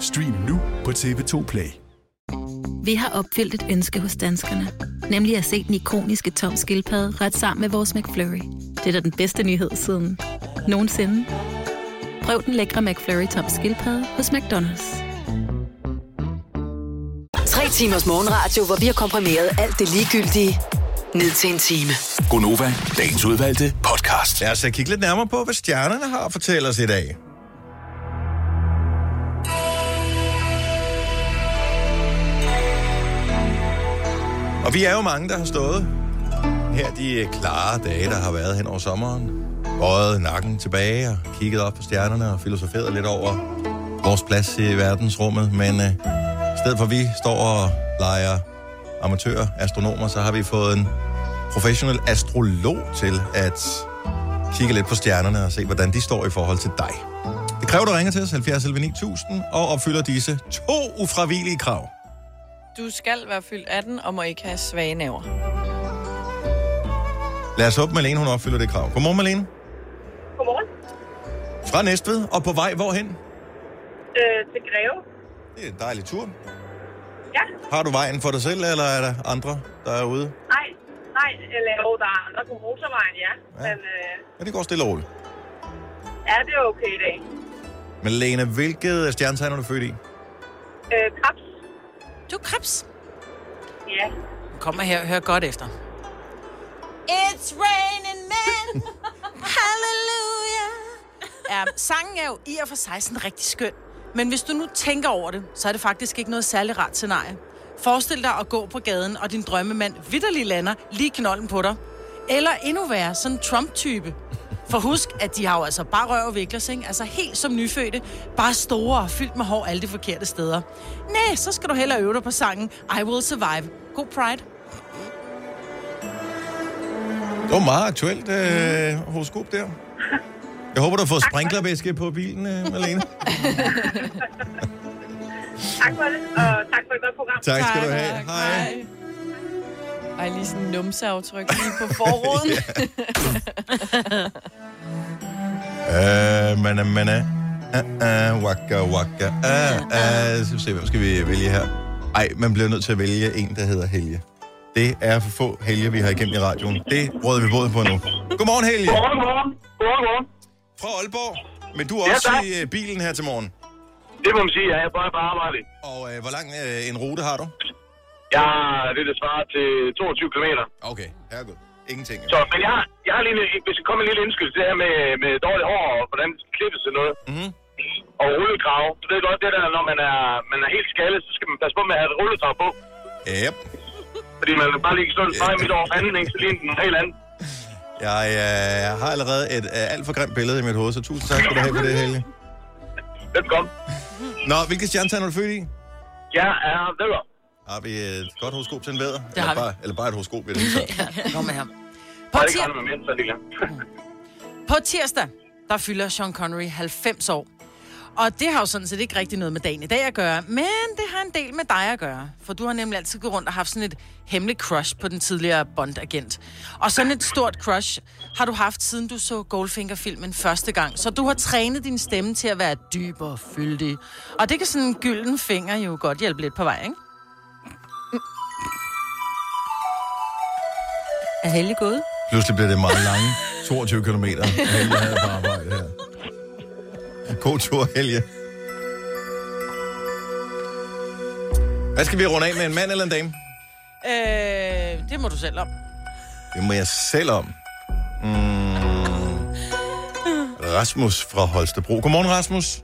Speaker 11: Stream nu på TV2 Play.
Speaker 2: Vi har opfyldt et ønske hos danskerne. Nemlig at se den ikoniske tom skildpadde ret sammen med vores McFlurry. Det er da den bedste nyhed siden nogensinde. Prøv den lækre McFlurry tom skildpadde hos McDonald's.
Speaker 8: Tre timers morgenradio, hvor vi har komprimeret alt det ligegyldige ned til en time.
Speaker 11: Gonova, dagens udvalgte podcast.
Speaker 1: Lad os øh, kigge lidt nærmere på, hvad stjernerne har at fortælle os i dag. Og vi er jo mange, der har stået her de øh, klare dage, der har været hen over sommeren. Bøjet nakken tilbage og kigget op på stjernerne og filosoferet lidt over vores plads i verdensrummet. Men øh, i stedet for at vi står og leger amatører, astronomer, så har vi fået en professionel astrolog til at kigge lidt på stjernerne og se, hvordan de står i forhold til dig. Det kræver, du ringer til os 70 11 9000 og opfylder disse to ufravigelige krav.
Speaker 5: Du skal være fyldt 18 og må ikke have svage
Speaker 12: Øh,
Speaker 5: naver.
Speaker 1: Lad os håbe, Malene hun opfylder det krav. Godmorgen, Malene.
Speaker 12: Godmorgen.
Speaker 1: Fra Næstved og på vej hvorhen?
Speaker 12: Øh, til Greve.
Speaker 1: Det er en dejlig tur.
Speaker 12: Ja.
Speaker 1: Har du vejen for dig selv, eller er der andre, der er ude?
Speaker 12: Nej, nej, eller jo, der er andre på motorvejen, ja.
Speaker 1: Ja.
Speaker 12: ja. Men øh,
Speaker 1: Ja, det går stille og roligt.
Speaker 12: ja, det er okay i dag.
Speaker 1: Malene, hvilket stjernetegn er du født i?
Speaker 12: Øh, krebs.
Speaker 3: Du er krebs.
Speaker 12: Ja.
Speaker 3: Kommer her og hør godt efter.
Speaker 5: It's raining
Speaker 2: (laughs)
Speaker 5: men, hallelujah.
Speaker 3: (laughs) Ja, sangen er jo i og for sig sådan rigtig skøn. Men hvis du nu tænker over det, så er det faktisk ikke noget særlig rart scenarie. Forestil dig at gå på gaden, og din drømmemand vidderlig lander lige knolden på dig. Eller endnu værre, sådan en Trump-type. For husk, at de har jo altså bare røv og vikler, ikke? Altså helt som nyfødte. Bare store og fyldt med hår alle de forkerte steder. Næh, så skal du hellere øve dig på sangen I Will Survive. God Pride.
Speaker 1: Det var meget aktuelt øh, horoskop der. Jeg håber, du har fået sprinklervæske på bilen, øh, Malene.
Speaker 12: Tak for det, og tak for et godt program.
Speaker 1: Tak skal du have.
Speaker 5: Hej. Ej, lige sådan en numseaftryk lige på
Speaker 1: (laughs)
Speaker 5: forruden. (laughs)
Speaker 1: Øh, man, man, uh, uh, waka, waka, uh, uh. Så se, hvem skal vi vælge her? Ej, man bliver nødt til at vælge en, der hedder Helge. Det er for få Helge, vi har igennem i radioen. Det råder vi båd på nu. (laughs) Godmorgen, Helge.
Speaker 7: Godmorgen, godmorgen. Godmorgen, godmorgen.
Speaker 1: Fra Aalborg. Men du er også
Speaker 7: tak.
Speaker 1: i øh, bilen her til morgen.
Speaker 7: Det må man sige, ja. Jeg bare på arbejde.
Speaker 1: Og øh, hvor lang øh, en rute har du?
Speaker 7: Jeg har det, der svarer til 22 km.
Speaker 1: Okay, herregud. Ingenting.
Speaker 7: Så, men jeg har, jeg har lige en, hvis jeg kommer en lille indskyld til det her med, med dårligt hår og hvordan det klippes og noget.
Speaker 1: Mm.
Speaker 7: Og rullekrav. Du ved godt, det der, når man er, man er helt skaldet, så skal man passe på med at have et rullekrav på.
Speaker 1: Yep.
Speaker 7: Fordi man bare lige kan stå en yeah. midt over fanden, ikke? Så lige en helt anden.
Speaker 1: Jeg øh, har allerede et øh, alt for grimt billede i mit hoved, så tusind tak skal du have for det, Helge.
Speaker 7: Velkommen.
Speaker 1: Nå, hvilke stjernetegn er du født i?
Speaker 7: Jeg er vædder.
Speaker 1: Har vi et godt horoskop til en vædder?
Speaker 3: Det har
Speaker 1: eller, bare, eller bare et horoskop ved det. Så.
Speaker 3: (laughs) Kom med ham.
Speaker 7: Nej, det kan man med, så er det glad.
Speaker 3: På tirsdag, der fylder Sean Connery 90 år. Og det har jo sådan set ikke rigtig noget med dagen i dag at gøre, men det har en del med dig at gøre. For du har nemlig altid gået rundt og haft sådan et hemmeligt crush på den tidligere Bond-agent. Og sådan et stort crush har du haft, siden du så Goldfinger-filmen første gang. Så du har trænet din stemme til at være dyb og fyldig. Og det kan sådan en gylden finger jo godt hjælpe lidt på vej, ikke? Er heldig gået?
Speaker 1: Pludselig bliver det meget lange 22 km. Helge havde på arbejde her. God tur, Helge. Hvad skal vi runde af med? En mand eller en dame?
Speaker 3: Øh, det må du selv om.
Speaker 1: Det må jeg selv om. Mm. Rasmus fra Holstebro. Godmorgen, Rasmus.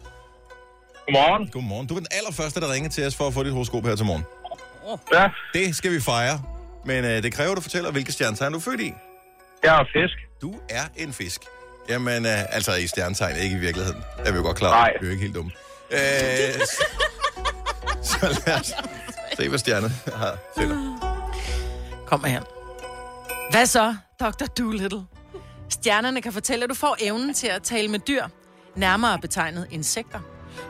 Speaker 7: Godmorgen.
Speaker 1: Godmorgen. Du er den allerførste, der ringer til os for at få dit horoskop her til morgen.
Speaker 7: Ja.
Speaker 1: Det skal vi fejre. Men øh, det kræver, at du fortæller, hvilke stjernetegn du er født i.
Speaker 7: Jeg er fisk.
Speaker 1: Du er en fisk. Jamen, øh, altså i stjernetegn, ikke i virkeligheden. Er vi jo godt klar. over. Vi er jo ikke helt dumme. Øh, s- (laughs) så lad os se, hvad stjerne har.
Speaker 3: Kom her. Hvad så, Dr. Doolittle? Stjernerne kan fortælle, at du får evnen til at tale med dyr, nærmere betegnet insekter.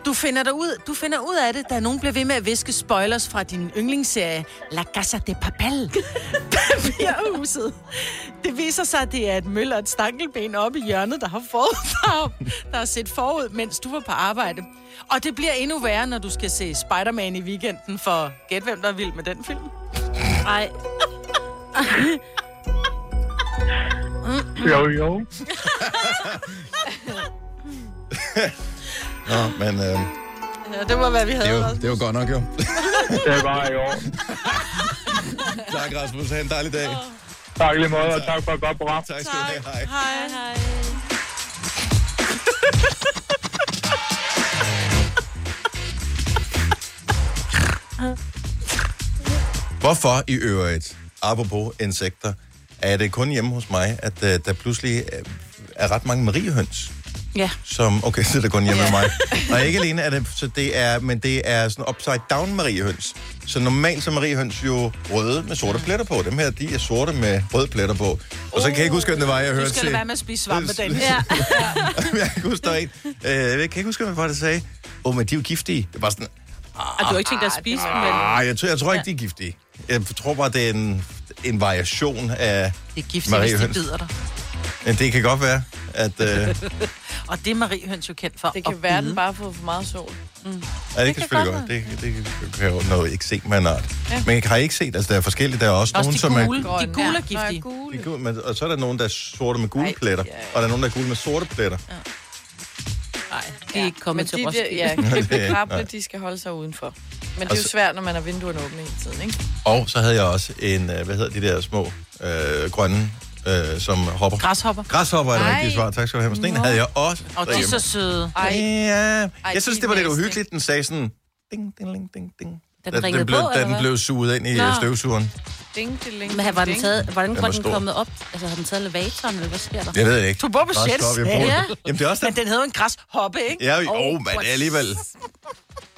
Speaker 3: Du finder, dig ud, du finder ud af det, da nogen bliver ved med at viske spoilers fra din yndlingsserie La Casa de Papel. Papirhuset. Det viser sig, at det er et møl og et stankelben oppe i hjørnet, der har, forud, (laughs) der, har, der har set forud, mens du var på arbejde. Og det bliver endnu værre, når du skal se Spider-Man i weekenden, for gæt hvem, der er vild med den film. (laughs) Nej.
Speaker 7: Mm.
Speaker 13: Jo, jo.
Speaker 1: (laughs) Nå, men øh,
Speaker 3: Ja, det må være, vi
Speaker 1: det, er
Speaker 3: havde.
Speaker 1: jo, det er jo godt nok, jo.
Speaker 13: Det var jo.
Speaker 1: (laughs) tak, Rasmus. Ha' en dejlig dag.
Speaker 13: Tak lige måde, og tak for et godt program.
Speaker 1: Tak skal du have. Hej.
Speaker 3: Hej, hej.
Speaker 1: Hvorfor i øvrigt, apropos insekter, er det kun hjemme hos mig, at øh, der pludselig øh, er ret mange mariehøns,
Speaker 2: Ja.
Speaker 1: som... Okay, (laughs) så er det kun hjemme hos mig. Og ikke alene er det, så det er, men det er sådan upside-down mariehøns. Så normalt så er mariehøns jo røde med sorte pletter på. Dem her, de er sorte med røde pletter på. Og så kan jeg ikke huske, hvem det var, jeg
Speaker 3: Du
Speaker 1: hørte
Speaker 3: skal
Speaker 1: til.
Speaker 3: lade være med at spise svampe, Dennis.
Speaker 1: Ja.
Speaker 3: Ja.
Speaker 1: jeg kan huske, der var en. Øh, jeg kan ikke huske, hvem det var, der sagde, åh, oh, men de er jo giftige. Det var sådan,
Speaker 4: Og du har ikke tænkt dig at spise dem, vel?
Speaker 1: Ah, jeg tror, jeg tror ikke, de er giftige. Jeg tror bare, det er en, en variation af
Speaker 3: Det er giftigt, hvis de bider dig.
Speaker 1: Men det kan godt være, at... Øh, er det,
Speaker 3: (laughs) og det er Marie Høns jo kendt for.
Speaker 5: Det kan
Speaker 3: at
Speaker 5: være,
Speaker 3: bide.
Speaker 5: den bare får for meget sol. Mm.
Speaker 1: det kan selvfølgelig godt. Det, det kan jo noget ikke se med en art.
Speaker 5: Ja.
Speaker 1: Ja. Men har I ikke set, altså der er forskellige, der er også,
Speaker 5: Også
Speaker 1: nogen,
Speaker 5: de
Speaker 1: som er...
Speaker 5: gule.
Speaker 1: de
Speaker 3: De gule er giftige.
Speaker 1: er gule, men, og så er der nogen, der er sorte med gule pletter, og der er nogen, der er gule med sorte pletter.
Speaker 5: Nej,
Speaker 4: de er ikke kommet til
Speaker 5: de, der-
Speaker 4: Roskilde.
Speaker 5: Ja,
Speaker 1: Nej, (laughs) det er ikke-
Speaker 5: kribbekrable,
Speaker 1: nej.
Speaker 5: de skal holde sig udenfor. Men det er
Speaker 1: Og
Speaker 5: jo
Speaker 1: så-
Speaker 5: svært, når man har vinduerne åbne hele tiden, ikke?
Speaker 1: Og så havde jeg også en, øh, hvad hedder de der små øh, grønne, øh, som hopper.
Speaker 3: Græshopper.
Speaker 1: Græshopper er det
Speaker 5: Ej.
Speaker 1: rigtige svar. Tak skal du have. Men Sådan en
Speaker 5: Nå.
Speaker 1: havde jeg også
Speaker 5: Og de er
Speaker 1: derhjemme.
Speaker 5: så søde.
Speaker 1: Ej.
Speaker 5: Ej.
Speaker 1: Ja.
Speaker 5: Ej,
Speaker 1: Jeg synes,
Speaker 5: de
Speaker 1: det var lidt
Speaker 5: næste.
Speaker 1: uhyggeligt, den sagde sådan... Ding, ding, ding, ding, ding.
Speaker 2: Da den
Speaker 1: Da
Speaker 2: ringede
Speaker 1: den, blev,
Speaker 2: på,
Speaker 1: da
Speaker 2: eller
Speaker 1: den
Speaker 2: hvad?
Speaker 1: blev suget ind i
Speaker 2: Nå.
Speaker 1: Nå. støvsugeren.
Speaker 5: Ding, ding, ding,
Speaker 2: Men var den
Speaker 5: ding.
Speaker 2: taget, hvordan
Speaker 1: Den
Speaker 2: var
Speaker 1: var
Speaker 2: den
Speaker 1: stor.
Speaker 2: kommet op? Altså, har den taget elevatoren, eller hvad sker der?
Speaker 1: Jeg ved det ikke.
Speaker 3: Du bor på
Speaker 1: Græshopper,
Speaker 3: Sjælsand.
Speaker 1: jeg bor-
Speaker 2: Ja.
Speaker 1: Jamen, det er også
Speaker 3: Men den hedder jo en græshoppe, ikke?
Speaker 1: Ja, jo, oh, men det er alligevel...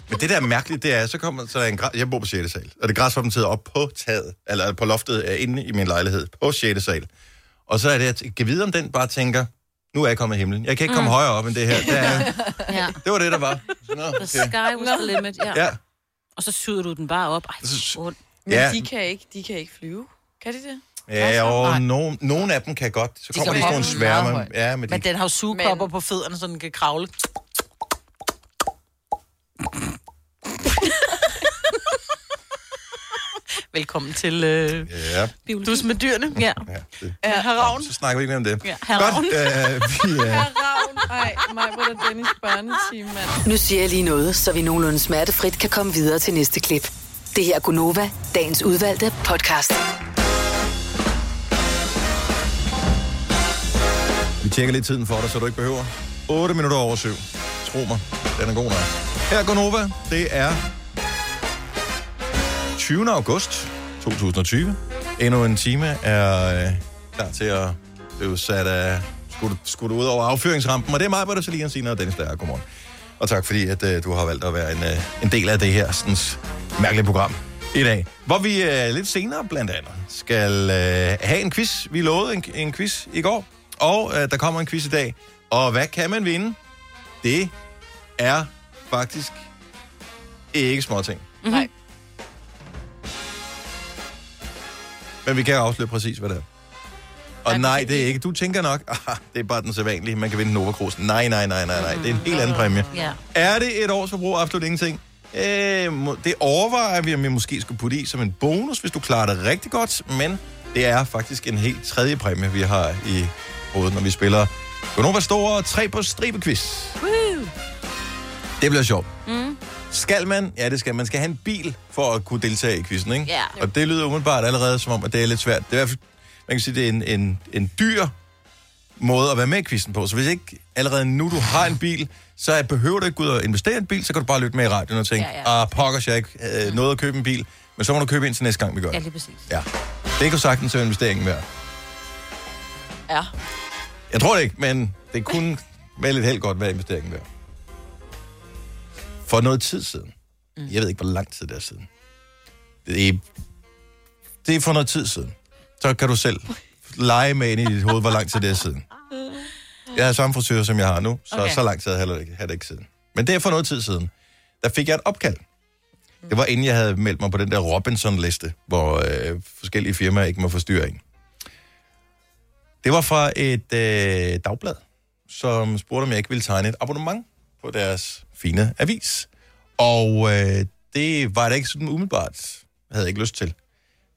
Speaker 1: Men det der er mærkeligt, det er, så kommer så er der en græs... Jeg bor på 6. sal, og det græshoppen sidder op på taget, eller på loftet øh, inde i min lejlighed, på 6. sal. Og så er det, at jeg kan vide, om den bare tænker, nu er jeg kommet i himlen. Jeg kan ikke komme
Speaker 2: Mm.
Speaker 1: højere op end det her. Det, er,
Speaker 2: Ja.
Speaker 1: det var det, der
Speaker 3: (laughs)
Speaker 1: var. Nå,
Speaker 2: The
Speaker 1: okay.
Speaker 2: sky was the limit, ja.
Speaker 1: Ja.
Speaker 2: Og så syder du den bare op. Ej,
Speaker 1: hvor
Speaker 2: ondt.
Speaker 5: Men
Speaker 1: Ja.
Speaker 5: de, kan ikke, de kan ikke flyve. Kan de det?
Speaker 1: Ja, og nogen, nogen af dem kan godt. Så kommer de
Speaker 3: kan
Speaker 1: sådan nogle
Speaker 3: hoppe meget
Speaker 1: sværme.
Speaker 3: højt.
Speaker 1: Ja, men de,
Speaker 3: Men den har jo sugekopper på fødderne, så den kan kravle. (laughs) Velkommen til øh,
Speaker 1: ja.
Speaker 3: Dus med dyrene. Øh, Ja.
Speaker 1: det-
Speaker 3: ja. Haravn.
Speaker 1: Så snakker vi ikke mere om det.
Speaker 3: Ja,
Speaker 1: godt,
Speaker 3: herovre.
Speaker 1: øh, vi, øh,
Speaker 5: Ravn, ej, mig på den Dennis børnetime, mand.
Speaker 8: Nu siger jeg lige noget, så vi nogenlunde smertefrit kan komme videre til næste klip. Det her er Gunova, dagens udvalgte podcast.
Speaker 1: vi tjekker lidt tiden for dig, så du ikke behøver. 8 minutter over 7. Tro mig, den er god nok. Her er Gonova. Det er 20. august 2020. Endnu en time er øh, klar til at blive sat af skudt, skudt ud over affyringsrampen. Og det er mig, Britta Selina, Sina og Dennis der. er. Godmorgen. Og tak fordi, at øh, du har valgt at være en, øh, en del af det her sådan, mærkelige program i dag. Hvor vi øh, lidt senere blandt andet skal øh, have en quiz. Vi lovede en, en quiz i går, og øh, der kommer en quiz i dag. Og hvad kan man vinde? Det er faktisk ikke småting.
Speaker 5: Nej.
Speaker 1: Men vi kan afsløre præcis, hvad det er. Og nej, det er ikke. Du tænker nok, ah, det er bare den sædvanlige, man kan vinde en Nova Cruz. Nej, nej, nej, nej, nej. Det er en helt anden præmie.
Speaker 2: Ja.
Speaker 1: Er det et års forbrug af absolut ingenting? Øh, må- det overvejer vi, om vi måske skulle putte i som en bonus, hvis du klarer det rigtig godt, men det er faktisk en helt tredje præmie, vi har i hovedet, når vi spiller Gonova Store 3 på stribe quiz.
Speaker 2: Woo!
Speaker 1: Det bliver sjovt.
Speaker 2: Mm.
Speaker 1: Skal man? Ja, det skal man. Man skal have en bil for at kunne deltage i quizzen, ikke?
Speaker 2: Ja.
Speaker 1: Og det lyder umiddelbart allerede som om, at det er lidt svært. Det er i hvert fald, man kan sige, det er en, en, en dyr måde at være med i quizzen på. Så hvis ikke allerede nu du har en bil, så behøver du ikke gå ud og investere i en bil, så kan du bare lytte med i radioen og tænke,
Speaker 2: Ja,
Speaker 1: ja,
Speaker 2: ja.
Speaker 1: ja. ah, pokkers, jeg ikke øh, noget at købe en bil, men så må du købe ind til næste gang, vi gør
Speaker 2: Ja,
Speaker 1: det.
Speaker 2: lige præcis.
Speaker 1: Ja. Det kan sagtens være investeringen værd.
Speaker 5: Ja.
Speaker 1: Jeg tror det ikke, men det kunne med lidt held godt være investeringen værd. For noget tid siden. Jeg ved ikke, hvor lang tid det er siden. Det er, det er for noget tid siden. Så kan du selv lege med ind i dit hoved, hvor lang tid det er siden. Jeg har samme frisør, som jeg har nu, så
Speaker 2: Okay.
Speaker 1: okay. så lang tid har jeg heller ikke, har det ikke siden. Men det er for noget tid siden. Der fik jeg et opkald. Det var inden jeg havde meldt mig på den der Robinson-liste, hvor øh, forskellige firmaer ikke må forstyrre en. Det var fra et øh, dagblad, som spurgte, om jeg ikke ville tegne et abonnement på deres fine avis. Og øh, det var det ikke sådan umiddelbart. Jeg havde ikke lyst til.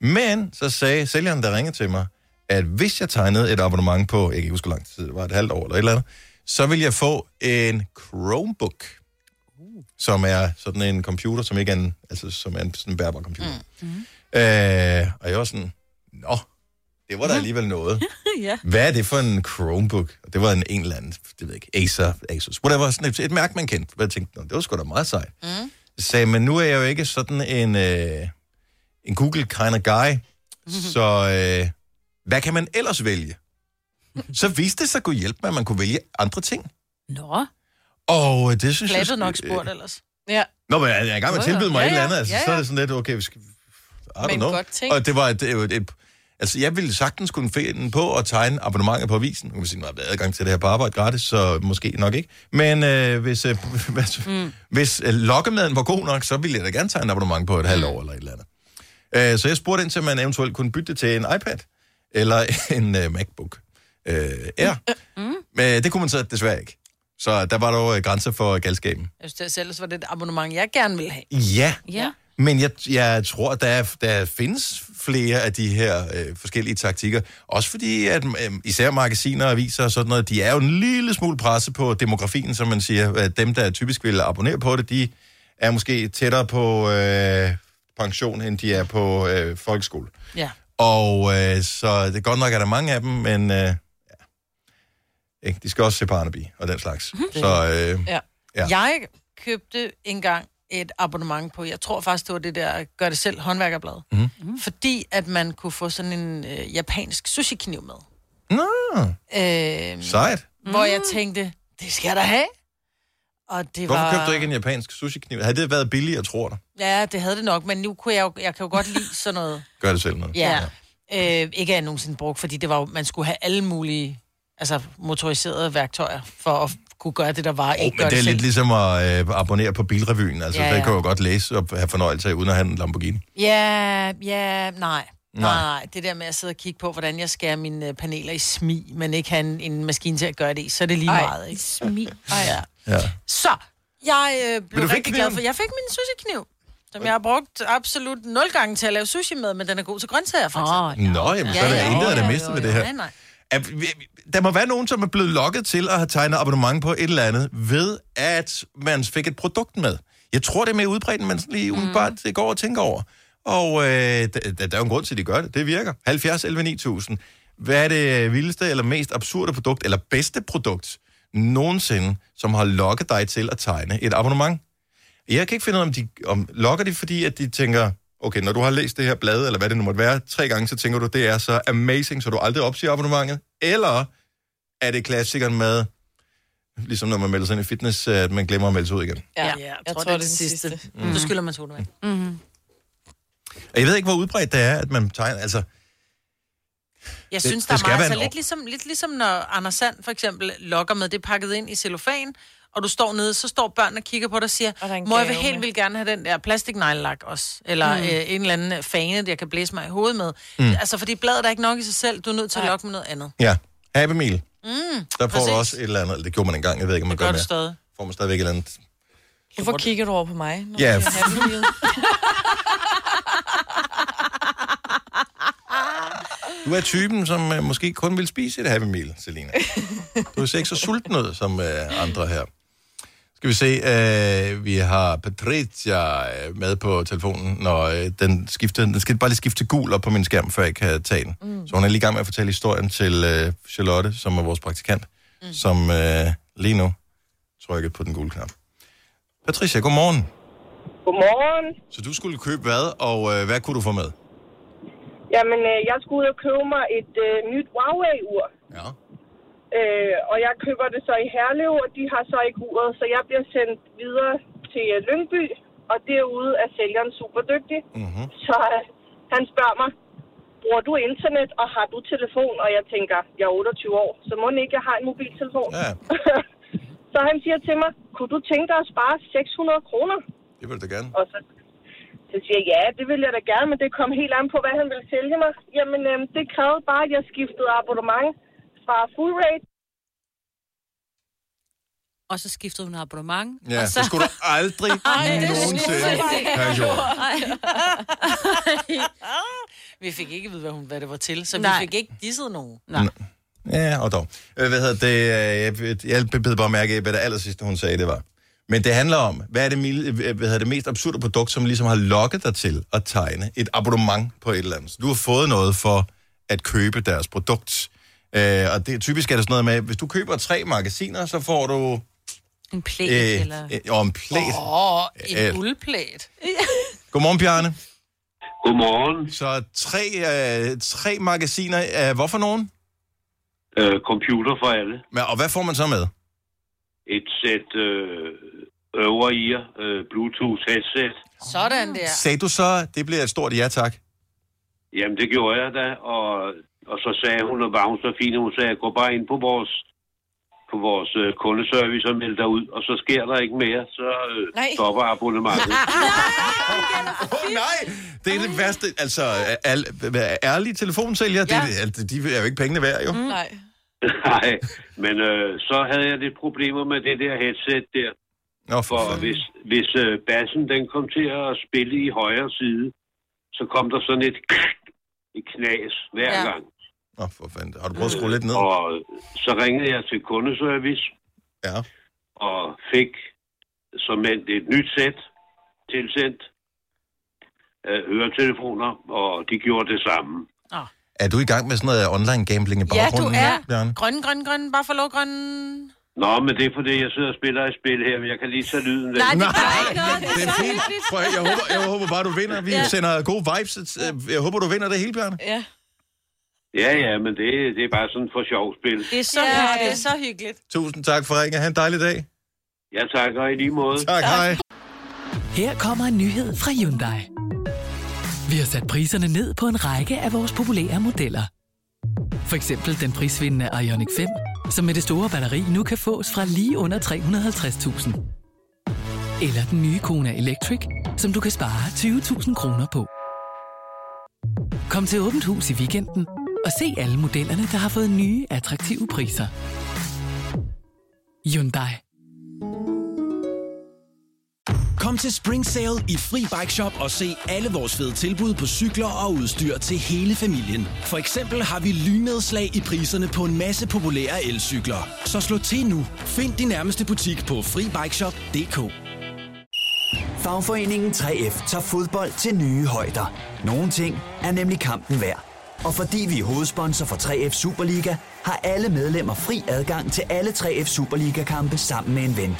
Speaker 1: Men så sagde sælgeren, der ringede til mig, at hvis jeg tegnede et abonnement på, jeg kan ikke huske, hvor lang tid det var, et halvt år eller et eller andet, så ville jeg få en Chromebook, som er sådan en computer, som ikke er en, altså, som er en sådan en bærbar computer.
Speaker 5: (laughs)
Speaker 1: Mm. Øh, og jeg var sådan, nå, det var da alligevel noget.
Speaker 4: ja.
Speaker 1: Hvad er det for en Chromebook? Og det var en, en eller anden, det ved jeg ikke, Acer, Asus, whatever, sådan et, et mærke, man kendte. Og jeg tænkte, nå, det var sgu da meget sejt. Mm. Jeg sagde, men nu er jeg jo ikke sådan en, øh, en Google kind of guy, så øh, hvad kan man ellers vælge? Så viste det sig kunne hjælpe med, at man kunne vælge andre ting.
Speaker 3: Nå.
Speaker 1: Og øh, det synes jeg...
Speaker 3: Flattet nok spurgt ellers. Ja.
Speaker 1: Nå, men jeg jeg er i gang med at
Speaker 3: Jo, jo.
Speaker 1: tilbyde mig
Speaker 3: Ja,
Speaker 1: ja, et eller
Speaker 3: ja.
Speaker 1: andet. Altså,
Speaker 3: Ja,
Speaker 1: ja, ja. Så er
Speaker 3: ja.
Speaker 1: det sådan lidt, okay, vi skal... I don't
Speaker 3: Men
Speaker 1: know.
Speaker 3: godt tænkt.
Speaker 1: Og det var et, et, et, Altså, jeg ville sagtens kunne finde på at tegne abonnementer på avisen. Nu kan man sige, at der er adgang til det her på arbejde gratis, så måske nok ikke. Men øh, hvis, øh, (laughs) hvis, mm. hvis øh, lokkemaden var god nok, så ville jeg da gerne tegne et abonnement på et halvt år eller et eller andet. Øh, så jeg spurgte ind til, man eventuelt kunne bytte det til en iPad eller (laughs) en øh, MacBook øh, Air. Mm. Men det kunne man så desværre ikke. Så der var dog øh, grænser for galskaben.
Speaker 3: Jeg synes, det ellers var det et abonnement, jeg gerne ville have.
Speaker 1: Ja,
Speaker 3: Ja.
Speaker 1: Men jeg, jeg tror, der, er, der findes flere af de her øh, forskellige taktikker. Også fordi, at øh, især magasiner og aviser og sådan noget, de er jo en lille smule presset på demografien, som man siger. At dem, der typisk vil abonnere på det, de er måske tættere på øh, pension, end de er på øh, folkeskole.
Speaker 3: Ja.
Speaker 1: Og øh, så det er godt nok, at der er mange af dem, men øh, ja. ikke? de skal også se Barnaby og den slags. Så øh,
Speaker 3: Mhm. Ja.
Speaker 1: Ja.
Speaker 3: ja. Jeg købte engang et abonnement på, jeg tror faktisk, det var det der Gør det selv håndværkerblad.
Speaker 1: Mhm.
Speaker 3: Mm. Fordi at man kunne få sådan en øh, japansk sushi-kniv med.
Speaker 1: nå,
Speaker 3: Øh,
Speaker 1: sejt.
Speaker 3: Hvor jeg tænkte, det skal jeg da have. Og det
Speaker 1: Hvorfor
Speaker 3: var...
Speaker 1: købte du ikke en japansk sushi-kniv? Havde det været billigere, tror du?
Speaker 3: Ja, det havde det nok, men nu kunne jeg jo, jeg kan jo godt lide sådan
Speaker 1: (laughs)
Speaker 3: noget.
Speaker 1: Gør det selv noget.
Speaker 3: Ja. ja. Øh, ikke at jeg nogensinde brugt, fordi det var jo, man skulle have alle mulige altså motoriserede værktøjer for at kunne gøre det, der var.
Speaker 1: Oh, men det er lidt ligesom at øh, abonnere på Bilrevyen. Altså, ja,
Speaker 3: Ja, ja.
Speaker 1: ja. det kan jeg jo godt læse og have fornøjelse af, uden at have en Lamborghini.
Speaker 3: Ja, ja, nej. Nej.
Speaker 1: ligesom- Nej.
Speaker 3: nej, det der med at sidde og kigge på, hvordan jeg skærer mine øh, paneler i smi, men ikke have en, en maskine til at gøre det i, så er det lige
Speaker 2: Ej,
Speaker 3: meget. Ikke? smi. Ej, ja.
Speaker 1: Ja.
Speaker 3: Så, jeg øh, blev
Speaker 1: du fik
Speaker 3: rigtig glad
Speaker 1: kniven?
Speaker 3: for, jeg fik min sushi-kniv, som jeg har brugt absolut nul gange til at lave sushi med, men den er god til grøntsager, for eksempel.
Speaker 1: ja. Nå, jamen, så er der intet af det miste ved det her.
Speaker 3: Nej, nej.
Speaker 1: At, vi- der må være nogen, som er blevet lokket til at have tegnet abonnement på et eller andet, ved at man fik et produkt med. Jeg tror, det er mere udbredt, end man sådan lige umiddelbart mm. går og tænker over. Og øh, der, der er jo en grund til, at de gør det. Det virker. 70 11 9000. Hvad er det vildeste eller mest absurde produkt, eller bedste produkt nogensinde, som har lokket dig til at tegne et abonnement? Jeg kan ikke finde ud af, om de om, lokker de, fordi at de tænker, okay, når du har læst det her blad, eller hvad det nu måtte være, tre gange, så tænker du, det er så amazing, så du aldrig opsiger abonnementet. Eller er det klassikeren med, ligesom når man melder sig ind i fitness, at man glemmer at melde sig ud igen.
Speaker 3: Ja, ja, jeg, jeg tror, det er det sidste. sidste.
Speaker 1: Mm.
Speaker 3: Mm. Du skylder mig to vand. Mm.
Speaker 1: Og jeg ved ikke, hvor udbredt det er, at man tegner, altså...
Speaker 3: Jeg
Speaker 1: Det-
Speaker 3: synes,
Speaker 1: det
Speaker 3: der
Speaker 1: skal
Speaker 3: er meget,
Speaker 1: være
Speaker 3: altså
Speaker 1: en
Speaker 3: lidt ligesom, lidt ligesom når Anders Sand for eksempel lokker med, det er pakket ind i cellofan, og du står nede, så står børnene og kigger på dig og siger, må jeg vil
Speaker 5: gave
Speaker 3: helt
Speaker 5: med."
Speaker 3: vildt gerne have den der plastikneglelak også, eller
Speaker 5: Mm.
Speaker 3: mm. øh, en eller anden fane, jeg kan blæse mig i hovedet med.
Speaker 1: Mm.
Speaker 3: Mm. Altså, fordi bladet er ikke nok i sig selv, du er nødt til at lokke med noget andet.
Speaker 1: Ja, Happy Meal.
Speaker 3: Mm.
Speaker 1: Der får du også et eller andet, eller det gjorde man engang, jeg ved ikke, om man
Speaker 3: Det gør
Speaker 1: gør
Speaker 3: du
Speaker 1: mere.
Speaker 3: stadig.
Speaker 1: Får man stadigvæk et eller andet.
Speaker 5: Hvorfor kigger du over på mig? når
Speaker 1: Ja.
Speaker 5: jeg er happy meal?
Speaker 1: Du er typen, som øh, måske kun vil spise et Happy Meal, (laughs) Selina. Du ser ikke så sulten ud som øh, andre her. Skal vi se, øh, vi har Patricia øh, med på telefonen, når øh, den skifter, den skal bare lige skifte til gul op på min skærm, før jeg kan tage den. Mm. Så hun er lige i gang med at fortælle historien til øh, Charlotte, som er vores praktikant, mm. som øh, lige nu trykker på den gule knap. Patricia, godmorgen.
Speaker 14: Godmorgen.
Speaker 1: Så du skulle købe hvad, og øh, hvad kunne du få med?
Speaker 14: Jamen, øh, jeg skulle ud og købe mig et øh, nyt Huawei-ur.
Speaker 1: Ja.
Speaker 14: Øh, og jeg køber det så i Herlev, og de har så ikke uret, så jeg bliver sendt videre til øh, Lyngby, og derude er sælgeren super dygtig.
Speaker 1: Mm-hmm.
Speaker 14: Så øh, han spørger mig, bruger du internet, og har du telefon? Og jeg tænker, jeg er 28 år, så må ikke, jeg har en mobiltelefon. Ja. (laughs) Så han siger til mig, kunne du tænke dig at spare 600 kroner?
Speaker 1: Det vil du gerne.
Speaker 14: Og så, så siger jeg, ja, det ville jeg da gerne, men det kom helt an på, hvad han ville sælge mig. Jamen, øhm, det krævede bare, at jeg skiftede abonnement fra full rate.
Speaker 2: Og så skiftede hun abonnement.
Speaker 1: Ja,
Speaker 2: og
Speaker 1: så skulle du aldrig nogensinde have gjort.
Speaker 3: (laughs) Vi fik ikke at vide, hvad, hun, hvad det var til, så
Speaker 2: Nej.
Speaker 3: vi fik ikke disset nogen.
Speaker 2: Nej.
Speaker 1: Ja, og dog. Øh, Hvad hedder det? øh, Jeg, jeg bed bare mærke i, hvad det aller sidste, hun sagde, det var. Men det handler om, hvad er det, mil- øh, hvad hedder det mest absurde produkt, som ligesom har lokket dig til at tegne et abonnement på et eller andet. Så du har fået noget for at købe deres produkt. Øh, og det, typisk er det sådan noget med, hvis du køber tre magasiner, så får du...
Speaker 2: En plæt,
Speaker 1: øh,
Speaker 2: eller...
Speaker 1: øh, og en plæt.
Speaker 3: Åh,
Speaker 1: Øh.
Speaker 3: en guldplæt.
Speaker 1: Godmorgen, Bjarne.
Speaker 13: Godmorgen.
Speaker 1: Så tre, øh, tre magasiner. Øh, hvorfor nogen?
Speaker 13: (laughs) Øh, computer for alle.
Speaker 1: Men, og hvad får man så med?
Speaker 13: Et sæt øh, øver i øh, Bluetooth headset.
Speaker 3: Sådan der.
Speaker 1: Sagde du så, det bliver et stort ja tak?
Speaker 13: Jamen, det gjorde jeg da, og, og så sagde hun, og var hun så fin, at hun sagde, gå bare ind på vores, på vores øh, kundeservice og meld dig ud, og så sker der ikke mere, så øh,
Speaker 1: Nej.
Speaker 13: stopper abonnementet.
Speaker 1: Åh, nej! Det er det værste. Altså, al, ærlige telefonsælgere, ja. det, er det- al- de er jo ikke pengene værd, jo. Mm.
Speaker 3: Nej.
Speaker 13: (laughs) Nej, men øh, så havde jeg lidt problemer med det der headset der.
Speaker 1: Nå, for
Speaker 13: for hvis, hvis øh, bassen den kom til at spille i højre side, så kom der sådan et, et knas hver
Speaker 1: Ja.
Speaker 13: ja. gang. Øh,
Speaker 1: Nå, for fanden. Har du prøvet at skrue lidt ned?
Speaker 13: Og så ringede jeg til kundeservice.
Speaker 1: Ja.
Speaker 13: Og fik som et, et nyt sæt tilsendt øh, høretelefoner, og de gjorde det samme.
Speaker 1: Er du i gang med sådan noget online gambling i
Speaker 3: Ja, du
Speaker 1: baggrunden?
Speaker 3: er.
Speaker 1: Bjørn?
Speaker 3: Grønne, grønne, grønne. Bare for lov, grønne.
Speaker 13: Nå, men det er fordi, jeg sidder og spiller et spil her, men jeg kan lige tage lyden. lidt.
Speaker 3: Nej, det gør
Speaker 1: Nej,
Speaker 3: ikke noget.
Speaker 1: Det er fint. Prøv, at- jeg, håber, jeg håber bare, du vinder. Vi ja.
Speaker 13: Ja.
Speaker 1: sender gode vibes. Øh, Jeg håber, du vinder det hele, Bjørn.
Speaker 3: Ja.
Speaker 13: Ja, ja, men det, det er bare sådan for sjov spil.
Speaker 3: Det er så,
Speaker 13: ja.
Speaker 3: ja, det er så hyggeligt.
Speaker 1: Tusind tak for ringen. Ha' en dejlig dag.
Speaker 13: Ja, tak, og i lige måde.
Speaker 1: Tak, hej.
Speaker 15: Her kommer en nyhed fra Hyundai. Vi har sat priserne ned på en række af vores populære modeller. For eksempel den prisvindende Ioniq 5, som med det store batteri nu kan fås fra lige under 350.000. Eller den nye Kona Electric, som du kan spare 20.000 kroner på. Kom til Åbent Hus i weekenden og se alle modellerne, der har fået nye, attraktive priser. Hyundai.
Speaker 16: Kom til Spring Sale i Fri Bike Shop og se alle vores fede tilbud på cykler og udstyr til hele familien. For eksempel har vi lynedslag i priserne på en masse populære elcykler. Så slå til nu. Find din nærmeste butik på FriBikeShop.dk
Speaker 17: Fagforeningen 3F tager fodbold til nye højder. Nogle ting er nemlig kampen værd. Og fordi vi er hovedsponsor for 3F Superliga, har alle medlemmer fri adgang til alle 3F Superliga-kampe sammen med en ven.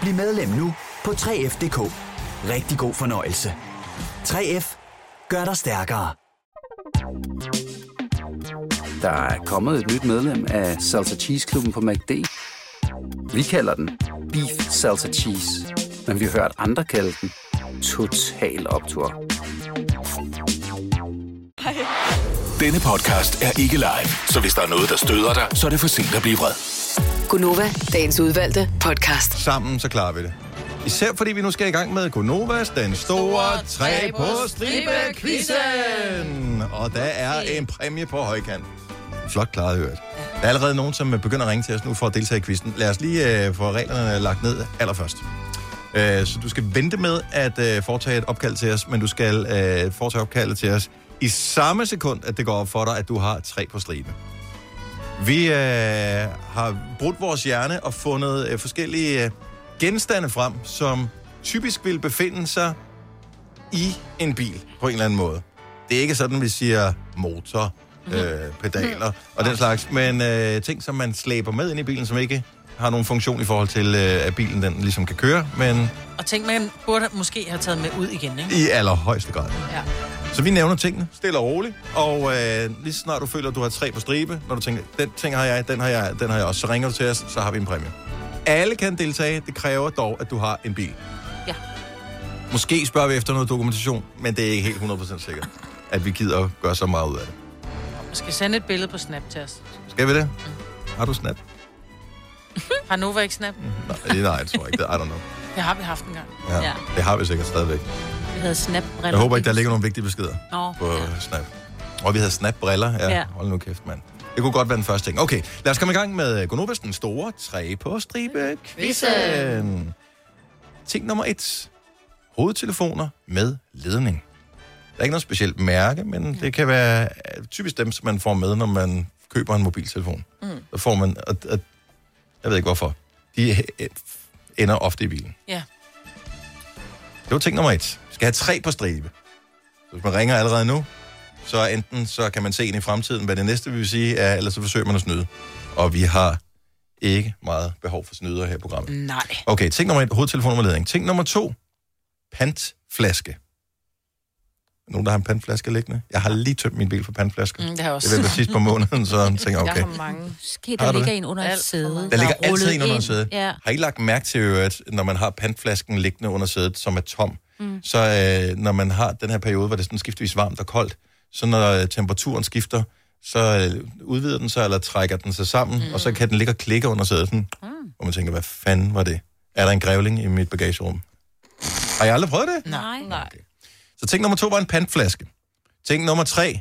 Speaker 17: Bliv medlem nu på 3F.dk. Rigtig god fornøjelse. 3F gør dig stærkere.
Speaker 18: (laughs) Der er kommet et nyt medlem af Salsa Cheese Klubben på MACD. Vi kalder den Beef Salsa Cheese, men vi har hørt andre kalde den Total Optor.
Speaker 11: Denne podcast er ikke live, så hvis der er noget, der støder dig, så er det for sent at blive vred.
Speaker 8: Gunova, dagens udvalgte podcast.
Speaker 1: Sammen så klarer vi det. Især fordi vi nu skal i gang med Konovas, den store tre på stribe-quizzen. Og der er en præmie på højkant. Flot klaret, hørt. Der er allerede nogen, som øh, begynder at ringe til os nu for at deltage i quizzen. Lad os lige øh, få reglerne lagt ned allerførst. Øh, så du skal vente med at øh, foretage et opkald til os, men du skal øh, foretage opkaldet til os i samme sekund, at det går op for dig, at du har tre på stribe. Vi øh, har brudt vores hjerne og fundet øh, forskellige øh, genstande frem, som typisk vil befinde sig i en bil på en eller anden måde. Det er ikke sådan, vi siger motor, øh, pedaler og den slags, men øh, ting, som man slæber med ind i bilen, som ikke har nogen funktion i forhold til, øh, at bilen den ligesom kan køre, men
Speaker 3: Og tænk, man burde måske have taget med ud igen, ikke?
Speaker 1: i allerhøjeste grad.
Speaker 3: Ja.
Speaker 1: Så vi nævner tingene, stille og roligt, og øh, lige så snart du føler, at du har tre på stribe, når du tænker, den ting har jeg, den har jeg, den har jeg også, så ringer du til os, så har vi en præmie. Alle kan deltage, det kræver dog, at du har en bil.
Speaker 2: Ja.
Speaker 1: Måske spørger vi efter noget dokumentation, men det er ikke helt 100% sikkert, at vi gider at gøre så meget ud af det.
Speaker 3: (laughs) Man skal sende et billede på Snap til os.
Speaker 1: Skal vi det? Har du snap?
Speaker 3: Har Nova ikke snap?
Speaker 1: Nej, nej, jeg tror ikke det. I don't know.
Speaker 3: Det har vi haft engang.
Speaker 1: Ja, ja.
Speaker 3: Ja.
Speaker 1: Det har vi sikkert stadigvæk.
Speaker 3: Det hedder snap
Speaker 1: Jeg håber ikke, der ligger nogle vigtige beskeder
Speaker 3: Nå,
Speaker 1: på ja. Snap. Og vi havde Snap-briller. Ja. ja.
Speaker 3: Ja.
Speaker 1: Hold nu kæft, mand. Det kunne godt være den første ting. Okay, lad os komme i gang med Gonobas den store tre på stribe quizzen. Ting nummer et. Hovedtelefoner med ledning. Der er ikke noget specielt mærke, men det kan være øh, typisk dem, som man får med, når man køber en mobiltelefon.
Speaker 3: Mm.
Speaker 1: Så får man, og, og, jeg ved ikke hvorfor, de øh, ender ofte i bilen.
Speaker 3: Ja.
Speaker 1: Det var ting nummer et. Skal have tre på stribe. Så hvis man ringer allerede nu, så enten så kan man se ind i fremtiden, hvad det næste vi vil sige er, eller så forsøger man at snyde. Og vi har ikke meget behov for snyder her i programmet.
Speaker 3: Nej.
Speaker 1: Okay, ting nummer et, hovedtelefonnummerledning. Ting nummer to, pantflaske. Nogen, der har en pantflaske liggende? Jeg har lige tømt min bil for pantflasker.
Speaker 3: Mm, det har jeg også.
Speaker 1: Det var sidst på
Speaker 3: (laughs)
Speaker 1: måneden, så jeg tænker, okay.
Speaker 3: mange.
Speaker 2: Ske,
Speaker 1: Har
Speaker 2: der
Speaker 1: du
Speaker 2: ligger
Speaker 1: det?
Speaker 2: en under et sæde.
Speaker 1: Der ligger
Speaker 2: er
Speaker 1: altid
Speaker 2: rullet
Speaker 1: en under sædet.
Speaker 2: Ja.
Speaker 1: Har I lagt mærke til, i øvrigt, når man har pantflasken liggende under sædet, som er tom,
Speaker 2: Mm.
Speaker 1: så øh, når man har den her periode, hvor det er sådan skiftevis varmt og koldt, så når øh, temperaturen skifter, så øh, udvider den sig, eller trækker den sig sammen, mm. og så kan den ligge og klikke under sædet, sådan, mm. og man tænker, hvad fanden var det? Er der en grævling i mit bagagerum? Har I aldrig prøvet det?
Speaker 3: Nej. Nej.
Speaker 1: Så ting nummer to var en pantflaske. Ting nummer tre,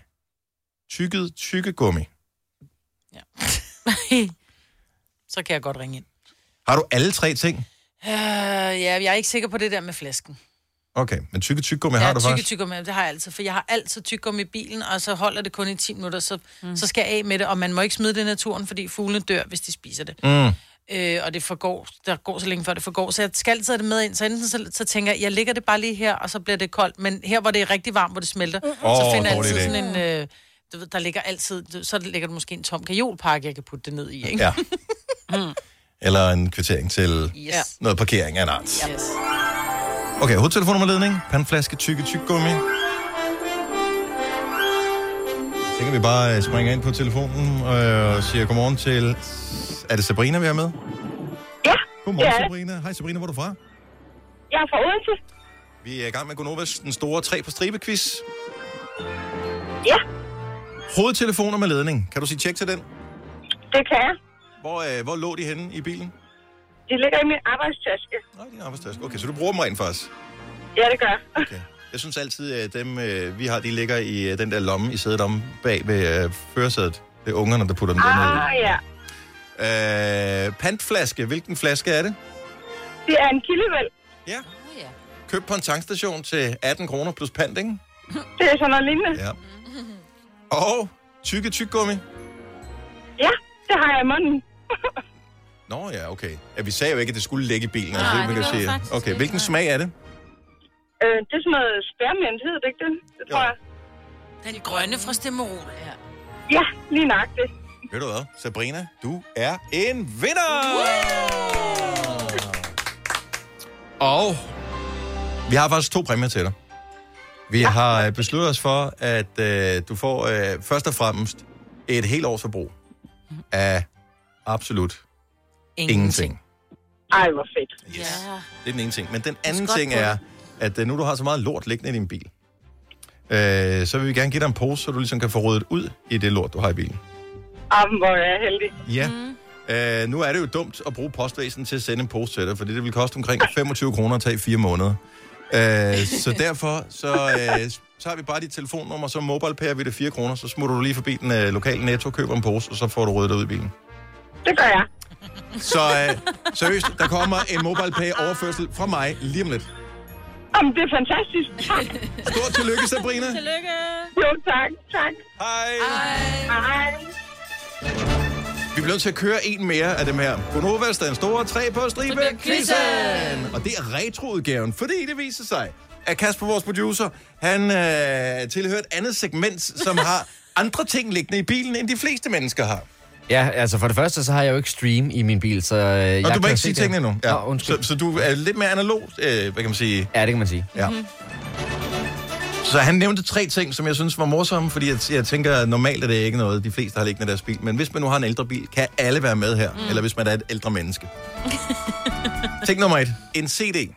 Speaker 1: tykket tykkegummi.
Speaker 3: (laughs) Så kan jeg godt ringe ind.
Speaker 1: Har du alle tre ting?
Speaker 3: Øh, ja, jeg er ikke sikker på det der med flæsken.
Speaker 1: Okay, men tykket tykkegummi
Speaker 3: jeg
Speaker 1: har du
Speaker 3: tykke,
Speaker 1: faktisk.
Speaker 3: tykke med, det har jeg altid, for jeg har altid tykke i bilen, og så holder det kun i 10 minutter, så, mm. så skal jeg af med det, og man må ikke smide det i naturen, fordi fuglene dør, hvis de spiser det.
Speaker 1: Mm.
Speaker 3: Øh, og det forgår, der går så længe før det forgår, så jeg skal altid have det med ind, så enten så, så tænker jeg, jeg ligger det bare lige her, og så bliver det koldt, men her, hvor det er rigtig varmt, hvor det smelter, mm. så
Speaker 1: Åh,
Speaker 3: finder jeg
Speaker 1: dårlig
Speaker 3: altid
Speaker 1: idé.
Speaker 3: sådan en... Øh, du ved, der ligger altid, du- så ligger der måske en tom kajolpakke, jeg kan putte det ned i, ikke?
Speaker 1: Ja.
Speaker 3: Mm.
Speaker 1: Eller en kvittering til
Speaker 3: Yes. Ja.
Speaker 1: noget parkering af en art.
Speaker 3: Yes.
Speaker 1: Okay, hovedtelefonnummerledning, pandflaske, tykke, tyk gummi. Så tænker vi bare øh, springer ind på telefonen øh, og siger godmorgen til... Er det Sabrina, vi er med?
Speaker 19: Ja.
Speaker 1: Godmorgen,
Speaker 19: ja.
Speaker 1: Sabrina. Hej Sabrina, hvor er du fra?
Speaker 19: Jeg er fra Odense.
Speaker 1: Vi er i gang med Gonovas, den store tre på stribe quiz.
Speaker 19: Ja.
Speaker 1: Hovedtelefoner med ledning. Kan du sige tjek til den?
Speaker 19: Det kan jeg.
Speaker 1: Hvor, øh, hvor lå de henne i bilen?
Speaker 19: De ligger i min arbejdstaske.
Speaker 1: Nej, din arbejdstaske. Okay, så du bruger dem rent faktisk.
Speaker 19: Ja, det gør jeg.
Speaker 1: Jeg synes altid, at dem, øh, vi har, de ligger i øh, den der lomme i sædet om bag ved øh, førersædet. Det er ungerne, der putter dem derned.
Speaker 19: Ah, ja.
Speaker 1: Øh, pantflaske. Hvilken flaske er det?
Speaker 19: Det er en kildevæld.
Speaker 1: Ja. Køb på en tankstation til 18 kroner plus pant, ikke?
Speaker 19: (laughs) Det er sådan noget lignende.
Speaker 1: Ja. Og tykke tyggegummi.
Speaker 19: Ja, det har jeg i munden.
Speaker 1: Nå ja, okay. Ja, vi sagde jo ikke, at det skulle ligge i bilen. altså,
Speaker 19: Nej,
Speaker 1: det,
Speaker 19: det
Speaker 1: man
Speaker 19: gør
Speaker 1: kan
Speaker 19: det
Speaker 1: sige.
Speaker 19: faktisk
Speaker 1: Okay, hvilken smag er det?
Speaker 19: Øh, det er sådan noget spærmint, hedder det ikke det? Det tror jeg.
Speaker 3: Den grønne fra Stemmerol, ja.
Speaker 19: Ja, lige nøjagtigt.
Speaker 1: Ved du hvad, Sabrina, du er en vinder! Og vi har faktisk to præmier til dig. Vi har øh, besluttet os for, at øh, du får øh, først og fremmest et helt års forbrug af absolut ingenting. ingenting.
Speaker 19: Ej, hvor fedt.
Speaker 1: Yes. Det er den ene ting. Men den anden
Speaker 19: godt
Speaker 1: ting
Speaker 19: på
Speaker 1: er, at øh, nu du har så meget lort liggende i din bil, øh, så vil vi gerne give dig en pose, så du ligesom kan få ryddet ud i det lort, du har i bilen.
Speaker 19: Jamen, hvor er jeg heldig.
Speaker 1: Ja. Mm. Øh, nu er det jo dumt at bruge postvæsen til at sende en pose til dig, fordi det vil koste omkring 25 kroner at tage i fire måneder. Øh, så derfor, så, øh, så har vi bare dit telefonnummer, så mobile vi det 4 kroner, så smutter du lige forbi den øh, lokale netto, køber en pose, og så får du ryddet dig ud i bilen.
Speaker 19: Det gør jeg.
Speaker 1: Så øh, seriøst, der kommer en mobile overførsel fra mig lige om lidt.
Speaker 19: Jamen, det er fantastisk. Tak.
Speaker 1: (laughs) Stort tillykke, Sabrina.
Speaker 19: Tillykke. Jo, tak. Tak.
Speaker 1: Hej.
Speaker 19: Hej. Hej.
Speaker 1: Vi bliver nødt til at køre en mere af dem her. Bonovas, den store tre på stribe. Quizzen! Og det er retroudgaven, fordi det viser sig, at Kasper, vores producer, han øh, tilhører et andet segment, som (laughs) har andre ting liggende i bilen, end de fleste mennesker har.
Speaker 6: Ja, altså for det første, så har jeg jo ikke stream i min bil, så øh, jeg
Speaker 1: Og du må ikke
Speaker 6: kan se
Speaker 1: sige
Speaker 6: det.
Speaker 1: tingene endnu.
Speaker 6: Nå, undskyld.
Speaker 1: Så, så du er lidt mere analog, øh, hvad kan man sige?
Speaker 6: Ja, det kan man sige.
Speaker 1: Ja. Så han nævnte tre ting, som jeg synes var morsomme, fordi jeg, jeg tænker, at normalt er det ikke noget, de fleste har liggende i deres bil. Men hvis man nu har en ældre bil, kan alle være med her. Mm. Eller hvis man er et ældre menneske. Ting nummer et. En CD.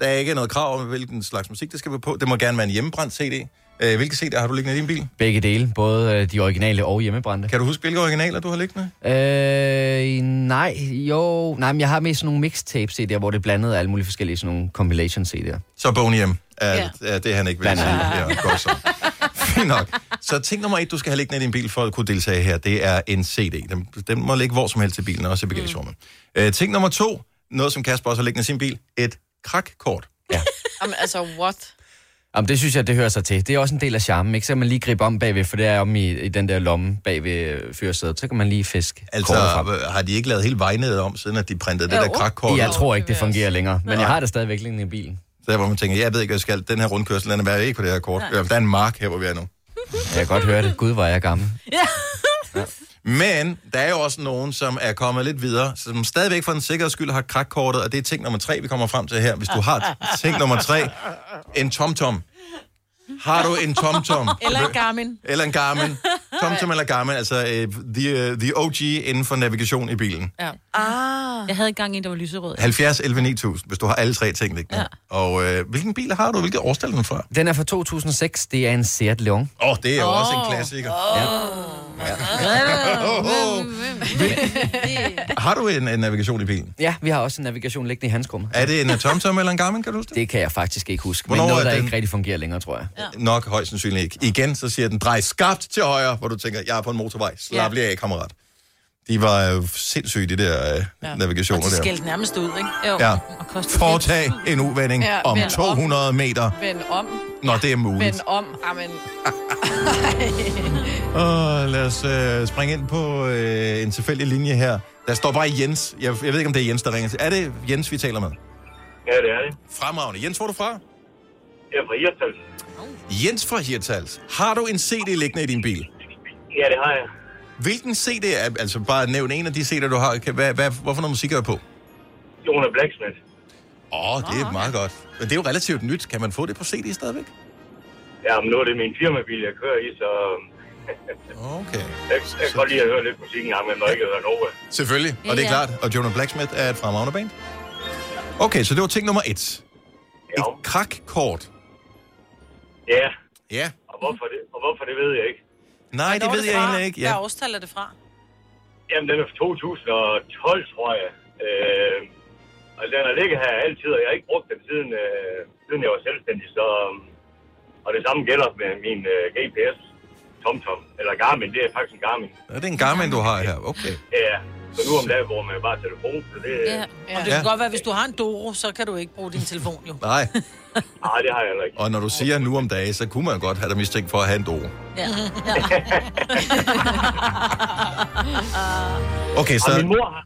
Speaker 1: Der er ikke noget krav om, hvilken slags musik det skal være på. Det må gerne være en hjemmebrændt CD. Øh, hvilke CD har du liggende i din bil?
Speaker 6: Begge dele, både øh, de originale og hjemmebrændte.
Speaker 1: Kan du huske, hvilke originaler du har liggende?
Speaker 6: Øh, nej, jo. Nej, men jeg har mest sådan nogle mixtape-CD'er, hvor det er blandet af alle mulige forskellige sådan nogle compilation-CD'er.
Speaker 1: Så Boney M. Er, ja. er det, han ikke vil
Speaker 6: Blandt
Speaker 1: sige. Ja,
Speaker 6: andet.
Speaker 1: godt så. Fint nok. Så ting nummer et, du skal have liggende i din bil for at kunne deltage her, det er en CD. Den, den må ligge hvor som helst i bilen, også i bagagerummet. Mm. Øh, ting nummer to, noget som Kasper også har liggende i sin bil, et krakkort.
Speaker 5: Jamen, altså, what?
Speaker 6: Jamen, det synes jeg, det hører sig til. Det er også en del af charmen, ikke? Så kan man lige gribe om bagved, for det er om i, i den der lomme bagved øh, fyrsædet. Så kan man lige fiske
Speaker 1: Altså, har de ikke lavet hele vejnædet om, siden at de printede det
Speaker 6: Jo.
Speaker 1: der krakkort?
Speaker 6: Jeg
Speaker 1: ud?
Speaker 6: tror ikke, det fungerer længere, men jeg har det stadigvæk liggende i bilen.
Speaker 1: Så der, hvor man tænker, jeg ved ikke, hvad jeg skal. Den her rundkørsel, den er værd ikke på det her kort.
Speaker 6: Nej.
Speaker 1: Ja, Der er en mark her, hvor vi er nu.
Speaker 6: Jeg kan godt høre det. Gud, hvor er jeg gammel.
Speaker 1: Ja. Men der er jo også nogen, som er kommet lidt videre, som stadigvæk for en sikkerheds skyld har krakkortet, og det er ting nummer tre, vi kommer frem til her. Hvis du har ting nummer tre, en tomtom. Har du en tomtom?
Speaker 3: Eller en Garmin.
Speaker 1: Eller en Garmin. Tomtom eller Garmin, altså øh, the, uh, the OG inden for navigation i bilen.
Speaker 2: Ja. Ah. Jeg havde engang en, der var lyserød.
Speaker 1: 70 11 9000, hvis du har alle tre ting liggende. Ja. Og øh, hvilken bil har du? Hvilket årstal er den fra?
Speaker 6: Den er fra 2006. Det er en Seat Leon.
Speaker 1: Åh, oh, det er jo oh. også en klassiker. Har du en, en navigation i bilen?
Speaker 6: Ja, vi har også en navigation liggende i handskummet.
Speaker 1: Er det en øh, TomTom eller en Garmin, kan du huske det?
Speaker 6: Det kan jeg faktisk ikke huske,
Speaker 1: Hvornår
Speaker 6: men noget,
Speaker 1: er
Speaker 6: der
Speaker 1: den?
Speaker 6: ikke rigtig fungerer længere, tror jeg.
Speaker 1: Nok højst sandsynligt ikke. Igen, så siger den, drej skarpt til højre, hvor du tænker, jeg er på en motorvej. Slap lige af, kammerat. De var øh, sindssyge, de der øh, ja. navigationer
Speaker 3: Og de
Speaker 1: der.
Speaker 3: skældte nærmest ud, ikke? Jo.
Speaker 1: Ja.
Speaker 3: Og kostede
Speaker 1: Foretag en uvending ja,
Speaker 5: Ja,
Speaker 1: om
Speaker 5: vend om.
Speaker 1: 200 meter,
Speaker 5: Vend om.
Speaker 1: når det er muligt.
Speaker 5: Vend om.
Speaker 1: (laughs)
Speaker 5: Amen.
Speaker 1: Og lad os øh, springe ind på øh, en tilfældig linje her. Der står bare Jens. Jeg, jeg ved ikke, om det er Jens, der ringer til. Er det Jens, vi taler med?
Speaker 20: Ja, det er det.
Speaker 1: Fremragende. Jens, hvor er du fra?
Speaker 20: Jeg er fra Hirtals.
Speaker 1: Jens fra Hirtals. Har du en CD liggende i din bil?
Speaker 20: Ja, det har jeg.
Speaker 1: Hvilken CD er, altså bare nævn en af de CD'er, du har. Kan- Hvad, hvad, hvorfor noget musik er der på?
Speaker 20: Jonah Blacksmith.
Speaker 1: Åh, oh, det er meget godt. Men det er jo relativt nyt. Kan man få det på CD stadigvæk?
Speaker 20: Ja, men nu er det min firmabil, jeg kører i, så... (laughs)
Speaker 1: Okay.
Speaker 20: Jeg, jeg kan godt lide at høre lidt musik engang, men når jeg ikke hører Nova.
Speaker 1: Selvfølgelig, og det
Speaker 20: Ja.
Speaker 1: er klart. Og Jonah Blacksmith er et fremragende band. Okay, så det var ting nummer et. Et krakkort.
Speaker 20: Ja.
Speaker 1: Ja.
Speaker 20: Og hvorfor det, og hvorfor det ved jeg ikke.
Speaker 1: Nej, det
Speaker 3: Hvor er
Speaker 1: ved jeg
Speaker 3: fra?
Speaker 1: egentlig ikke. Ja.
Speaker 3: Hvad årstal er det fra?
Speaker 20: Jamen, den er fra 2012, tror jeg. Øh, og den har ligget her altid, og jeg har ikke brugt den siden, øh, siden jeg var selvstændig, så... øhm, Og det samme gælder med min øh, GPS, TomTom, eller Garmin, det er faktisk en Garmin.
Speaker 1: Ja, det er en Garmin, du har her. Okay.
Speaker 20: Ja, så nu om dagen bruger man jo bare telefon, så det...
Speaker 3: Ja. ja. Og det
Speaker 1: Ja.
Speaker 3: kan godt være, hvis du har en Doro, så kan du ikke bruge din telefon jo.
Speaker 1: Nej.
Speaker 20: (laughs) Nej, det har jeg heller ikke.
Speaker 1: Og når du siger nu om dagen, så kunne man godt have dig mistænkt for at have en dog.
Speaker 3: (laughs) Ja.
Speaker 1: Okay, så...
Speaker 20: Og min mor har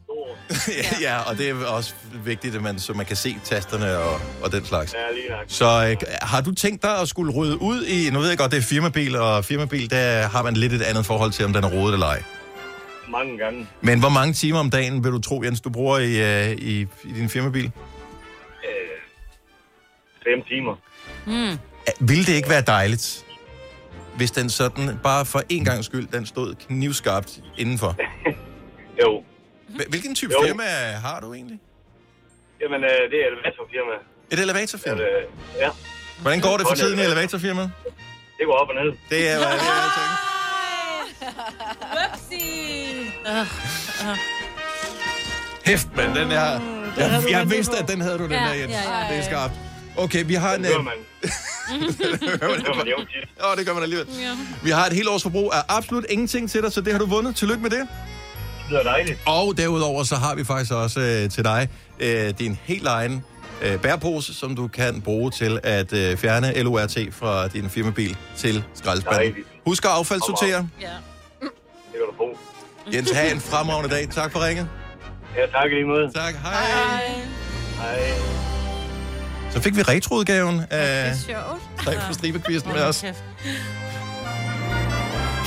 Speaker 1: (laughs) ja, ja, og det er også vigtigt, at man, så man kan se tasterne og, og den slags.
Speaker 20: Ja, lige nok.
Speaker 1: Så øh, har du tænkt dig at skulle rydde ud i... Nu ved jeg godt, det er firmabil, og firmabil, der har man lidt et andet forhold til, om den er rodet eller ej.
Speaker 20: mange gange.
Speaker 1: Men hvor mange timer om dagen vil du tro, Jens, du bruger i, øh, i, i din firmabil?
Speaker 20: Øh, fem timer.
Speaker 2: Mm.
Speaker 1: Vil det ikke være dejligt, hvis den sådan, bare for en gang skyld, den stod knivskarpt indenfor?
Speaker 20: jo.
Speaker 1: Hvilken type
Speaker 20: Jo.
Speaker 1: firma har du egentlig?
Speaker 20: Jamen, øh, det er elevatorfirma.
Speaker 1: Et elevatorfirma?
Speaker 20: Øh, ja.
Speaker 1: Hvordan går det for
Speaker 20: Kun
Speaker 1: tiden i
Speaker 20: elevator.
Speaker 1: elevatorfirmaet?
Speaker 20: Det går op og ned.
Speaker 1: Det er, hvad jeg tænker. Hæft, men den er...
Speaker 20: Mm,
Speaker 1: Jeg, jeg vidste, at den havde du, den
Speaker 20: Ja,
Speaker 1: der, Jens.
Speaker 20: ja, ja, ja.
Speaker 1: Det er skarpt. Okay, vi har en...
Speaker 20: Det gør
Speaker 1: øh,
Speaker 20: man.
Speaker 7: Mm-hmm. (laughs)
Speaker 1: det gør man alligevel. Åh, det gør man alligevel.
Speaker 20: Ja.
Speaker 1: Vi har et helt års forbrug af absolut ingenting til dig, så det har du vundet. Tillykke med det.
Speaker 20: Det er dejligt.
Speaker 1: Og derudover så har vi faktisk også øh, til dig øh, din helt egen øh, bærepose, som du kan bruge til at øh, fjerne LORT fra din firmabil til skraldespanden.
Speaker 20: Dejligt.
Speaker 1: Husk at affaldssortere.
Speaker 20: Ja. Det kan du få.
Speaker 1: Jens, have en fremragende dag. Tak for ringet.
Speaker 20: Ja, tak i lige måde.
Speaker 1: Tak, hej. Hej.
Speaker 20: Hej.
Speaker 1: Så fik vi retroudgaven af
Speaker 20: sjovt.
Speaker 1: Tre for Stribe-quizzen med os.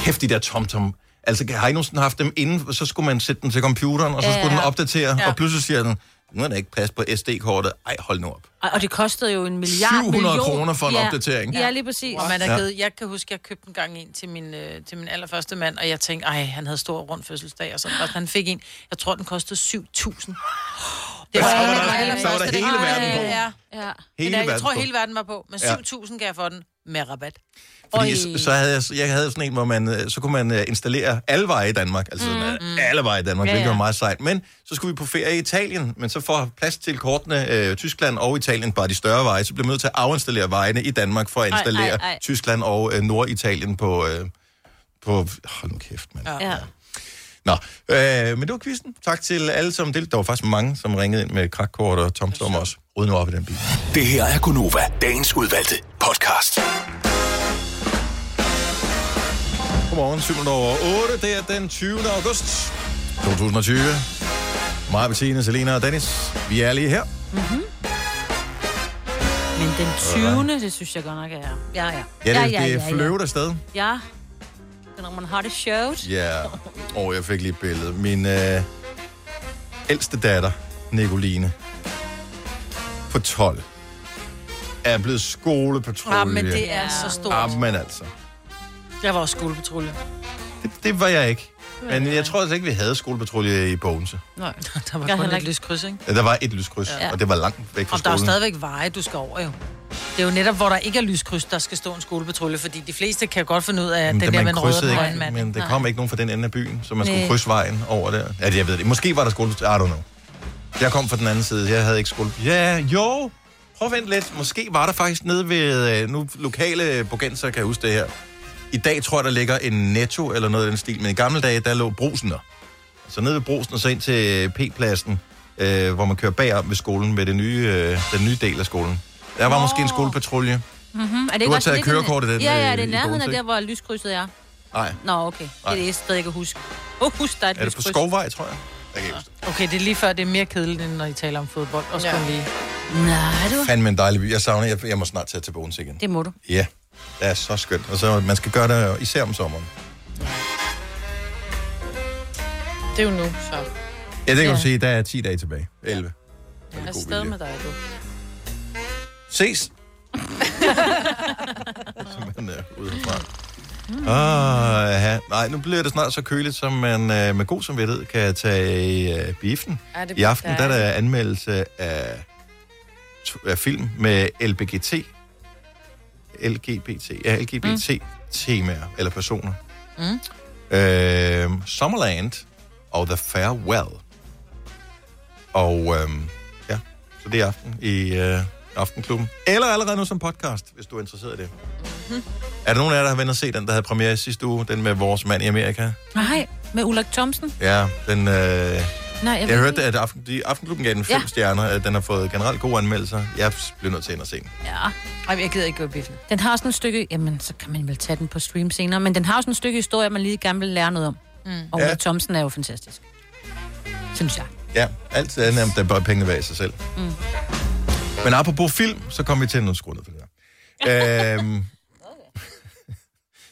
Speaker 1: Kæft, de der tomtom. Altså, har I nogensinde haft dem inden, så skulle man sætte den til computeren, og så
Speaker 2: Ja.
Speaker 1: skulle den opdatere,
Speaker 2: Ja.
Speaker 1: og pludselig siger den, nu er der ikke plads på SD-kortet. Ej, hold nu op.
Speaker 2: Ej, Og det kostede jo en milliard
Speaker 1: 700
Speaker 2: million.
Speaker 1: kroner for en
Speaker 2: ja.
Speaker 1: opdatering.
Speaker 2: Ja, lige præcis.
Speaker 3: Og man er
Speaker 1: Ja.
Speaker 3: givet, jeg kan huske, jeg købte en gang en til min, øh, til min allerførste mand, og jeg
Speaker 1: (laughs)
Speaker 3: tænkte, ej, han havde stor rund fødselsdag, og sådan, og han fik en, jeg tror, den kostede 7.000.
Speaker 1: Det var,
Speaker 3: var
Speaker 1: så var
Speaker 3: alle-
Speaker 1: der,
Speaker 3: alle-
Speaker 1: så var der
Speaker 3: første-
Speaker 1: hele
Speaker 3: Ej,
Speaker 1: verden på.
Speaker 3: Ja, ja.
Speaker 1: Hele
Speaker 3: Hele men, øh, jeg
Speaker 1: verden
Speaker 3: tror,
Speaker 1: på.
Speaker 3: hele verden var på. Men
Speaker 1: Ja.
Speaker 3: 7.000 kan jeg få den med rabat.
Speaker 1: Fordi så, så havde jeg, jeg havde sådan en, hvor man, øh, så kunne man øh, installere alle veje i Danmark, altså mm. alle veje i Danmark,
Speaker 3: Ja,
Speaker 1: ja, hvilket
Speaker 3: ja.
Speaker 1: var meget sejt. Men så skulle vi på ferie i Italien, men så for plads til kortene øh, Tyskland og Italien, bare de større veje, så blev vi nødt til at afinstallere vejene i Danmark for at
Speaker 2: Ej,
Speaker 1: installere
Speaker 2: ej, ej.
Speaker 1: Tyskland og øh, Norditalien på, øh, på... Hold nu kæft, mand.
Speaker 2: Ja. ja.
Speaker 1: Nå, øh, men det var quizzen. Tak til alle, som deltog. Der var faktisk mange, som ringede ind med krakkort og tomtom også. Ryd nu op i den bil.
Speaker 11: Det her er Gunova, dagens udvalgte podcast.
Speaker 1: Godmorgen, 7 over 8. Det er den 20. august 2020. Maja, Bettine, Selena og Dennis. Vi er lige her.
Speaker 2: Mm-hmm. Men den 20. det synes jeg godt nok er. Ja, ja.
Speaker 1: Ja, det, ja, ja, det er fløvet afsted.
Speaker 2: Ja. Men når man har det sjovt.
Speaker 1: Ja. Åh, oh, jeg fik lige et billede. Min øh, ældste datter, Nicoline, på 12, er blevet skolepatrulje.
Speaker 3: Ah, men det er så stort.
Speaker 1: Ah, men altså.
Speaker 3: Jeg var også skolepatrulje.
Speaker 1: Det var jeg ikke.
Speaker 3: var
Speaker 1: Men
Speaker 3: jeg
Speaker 1: jeg tror altså ikke, vi havde skolepatrulje i Bogense.
Speaker 3: Nej, (laughs) der var
Speaker 2: Jeg
Speaker 3: jeg kun
Speaker 2: heller
Speaker 3: et
Speaker 2: ikke.
Speaker 3: lyskryds, ikke?
Speaker 1: Ja, der var et lyskryds,
Speaker 3: Ja.
Speaker 1: ja. og det var langt væk fra
Speaker 3: Og der er jo
Speaker 1: skolen.
Speaker 3: stadigvæk veje, du skal over jo. Det er jo netop, hvor der ikke er lyskryds, der skal stå en skolepatrulje, fordi de fleste kan godt finde ud af, at
Speaker 1: Men
Speaker 3: den
Speaker 1: det,
Speaker 3: der
Speaker 1: man
Speaker 3: med den røde
Speaker 1: krydsede
Speaker 3: på
Speaker 1: ikke, men der kom ikke nogen fra den ende af byen, så man skulle
Speaker 3: Næ.
Speaker 1: krydse vejen over der. Ja, det- jeg ved det. Måske var der skole... I don't know. Jeg kom fra den anden side. Jeg havde ikke skole... Ja, jo. Prøv at vente lidt. Måske var der faktisk nede ved... øh, Nu lokale bogenser kan jeg huske det her. I dag tror jeg, der ligger en netto eller noget af den stil. Men i gamle dage, der lå brusen der. Så nede ved brusen og så ind til P-pladsen, øh, hvor man kører bagom ved skolen med det nye, øh, den nye del af skolen. Der var måske en skolepatrulje.
Speaker 2: Mm-hmm. Er det
Speaker 1: Du
Speaker 2: ikke
Speaker 1: har
Speaker 2: også
Speaker 1: taget
Speaker 2: lidt
Speaker 1: kørekortet i den,
Speaker 2: Ja, ja,
Speaker 1: øh,
Speaker 2: er det
Speaker 1: i
Speaker 2: i nærheden af
Speaker 1: Bogense,
Speaker 2: der, hvor lyskrydset er?
Speaker 1: Nej.
Speaker 2: Nå, okay. Det er
Speaker 1: Nej.
Speaker 2: det eneste sted, jeg kan huske. Åh, oh, husk, der er et
Speaker 1: Er det på
Speaker 2: lyskryds.
Speaker 1: Skovvej, tror jeg? Jeg kan ikke huske
Speaker 3: Okay, det er lige før, det er mere kedeligt, end når I taler om fodbold. Også ja. kun lige.
Speaker 2: Nej,
Speaker 1: det. Fandme en dejlig by. Jeg savner, jeg, jeg må snart tage til Bogens igen.
Speaker 2: Det må du.
Speaker 1: Ja, det er så skønt. Og så, man skal gøre det jo især om sommeren.
Speaker 5: Det er jo nu, så.
Speaker 1: Ja, det kan ja.
Speaker 5: Ja.
Speaker 1: du sige, der er 10 dage tilbage. 11.
Speaker 5: Jeg er stadig med dig,
Speaker 1: (laughs)
Speaker 5: du.
Speaker 1: Ses! Men øh, udefra. Ah, ja. Nej, nu bliver det snart så køligt, som man øh, med god samvittighed kan tage i øh, biffen.
Speaker 5: Ja, det
Speaker 1: I
Speaker 5: bliver
Speaker 1: aften der er der
Speaker 5: dejligt.
Speaker 1: anmeldelse af, to- af film med LBGT. LGBT. Ja, LGBT-temaer mm. eller personer.
Speaker 3: Mm.
Speaker 1: Øh, Summerland og The Farewell. Og øh, ja, så det er i aften i øh, Aftenklubben. Eller allerede nu som podcast, hvis du er interesseret i det. Er der nogen af jer, der har været inde og se den, der havde premiere i sidste uge? Den med vores mand i Amerika?
Speaker 2: Nej, med Ulrik Thomsen?
Speaker 1: Ja, den... Øh, jeg,
Speaker 2: Nej, jeg,
Speaker 1: jeg
Speaker 2: ved
Speaker 1: hørte,
Speaker 2: ikke.
Speaker 1: at aften, de, Aftenklubben gav den fem
Speaker 2: Ja.
Speaker 1: ja. stjerner. At den har fået generelt gode anmeldelser. Jeg blev nødt til at ind og se den.
Speaker 2: Ja.
Speaker 3: Ej, men jeg gider ikke gå i biffen.
Speaker 2: Den har sådan et stykke... Jamen, så kan man vel tage den på stream senere. Men den har sådan et stykke historie, man lige gerne vil lære noget om. Mm. Og Ulrik
Speaker 1: Ja.
Speaker 2: Thomsen er jo fantastisk. Synes jeg.
Speaker 1: Ja, alt andet er bare pengene værd i sig selv. Mm. Men apropos film, så kom vi til noget skrundet for det her. øhm,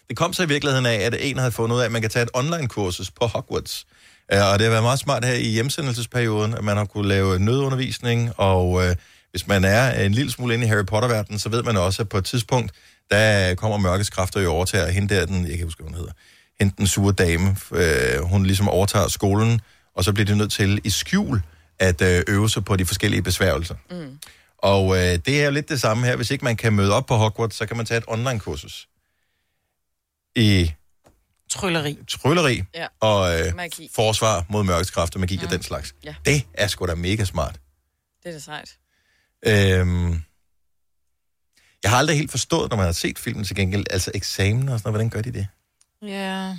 Speaker 1: det kom så i virkeligheden af, at en havde fundet ud af, at man kan tage et online-kursus på Hogwarts. Øh, Og det har været meget smart her i hjemsendelsesperioden, at man har kunne lave nødundervisning, og øh, hvis man er en lille smule inde i Harry Potter-verdenen, så ved man også, at på et tidspunkt, der kommer mørkets kræfter jo overtager hende der, den, jeg kan ikke huske, hvad hun hedder, hende den sure dame, øh, hun ligesom overtager skolen, og så bliver de nødt til i skjul at øh, øve sig på de forskellige besværgelser.
Speaker 7: Mm.
Speaker 1: Og øh, det er jo lidt det samme her. Hvis ikke man kan møde op på Hogwarts, så kan man tage et online-kursus i
Speaker 3: Trylleri.
Speaker 1: trylleri
Speaker 5: Ja.
Speaker 1: og øh,
Speaker 5: Magi. Mm.
Speaker 1: forsvar mod mørkets kræfter, magi og den slags.
Speaker 5: Ja.
Speaker 1: Det er sgu da mega smart.
Speaker 5: Det er da sejt.
Speaker 1: Øhm, jeg har aldrig helt forstået, når man har set filmen til gengæld, altså eksamener og sådan noget, hvordan gør de det?
Speaker 5: Ja.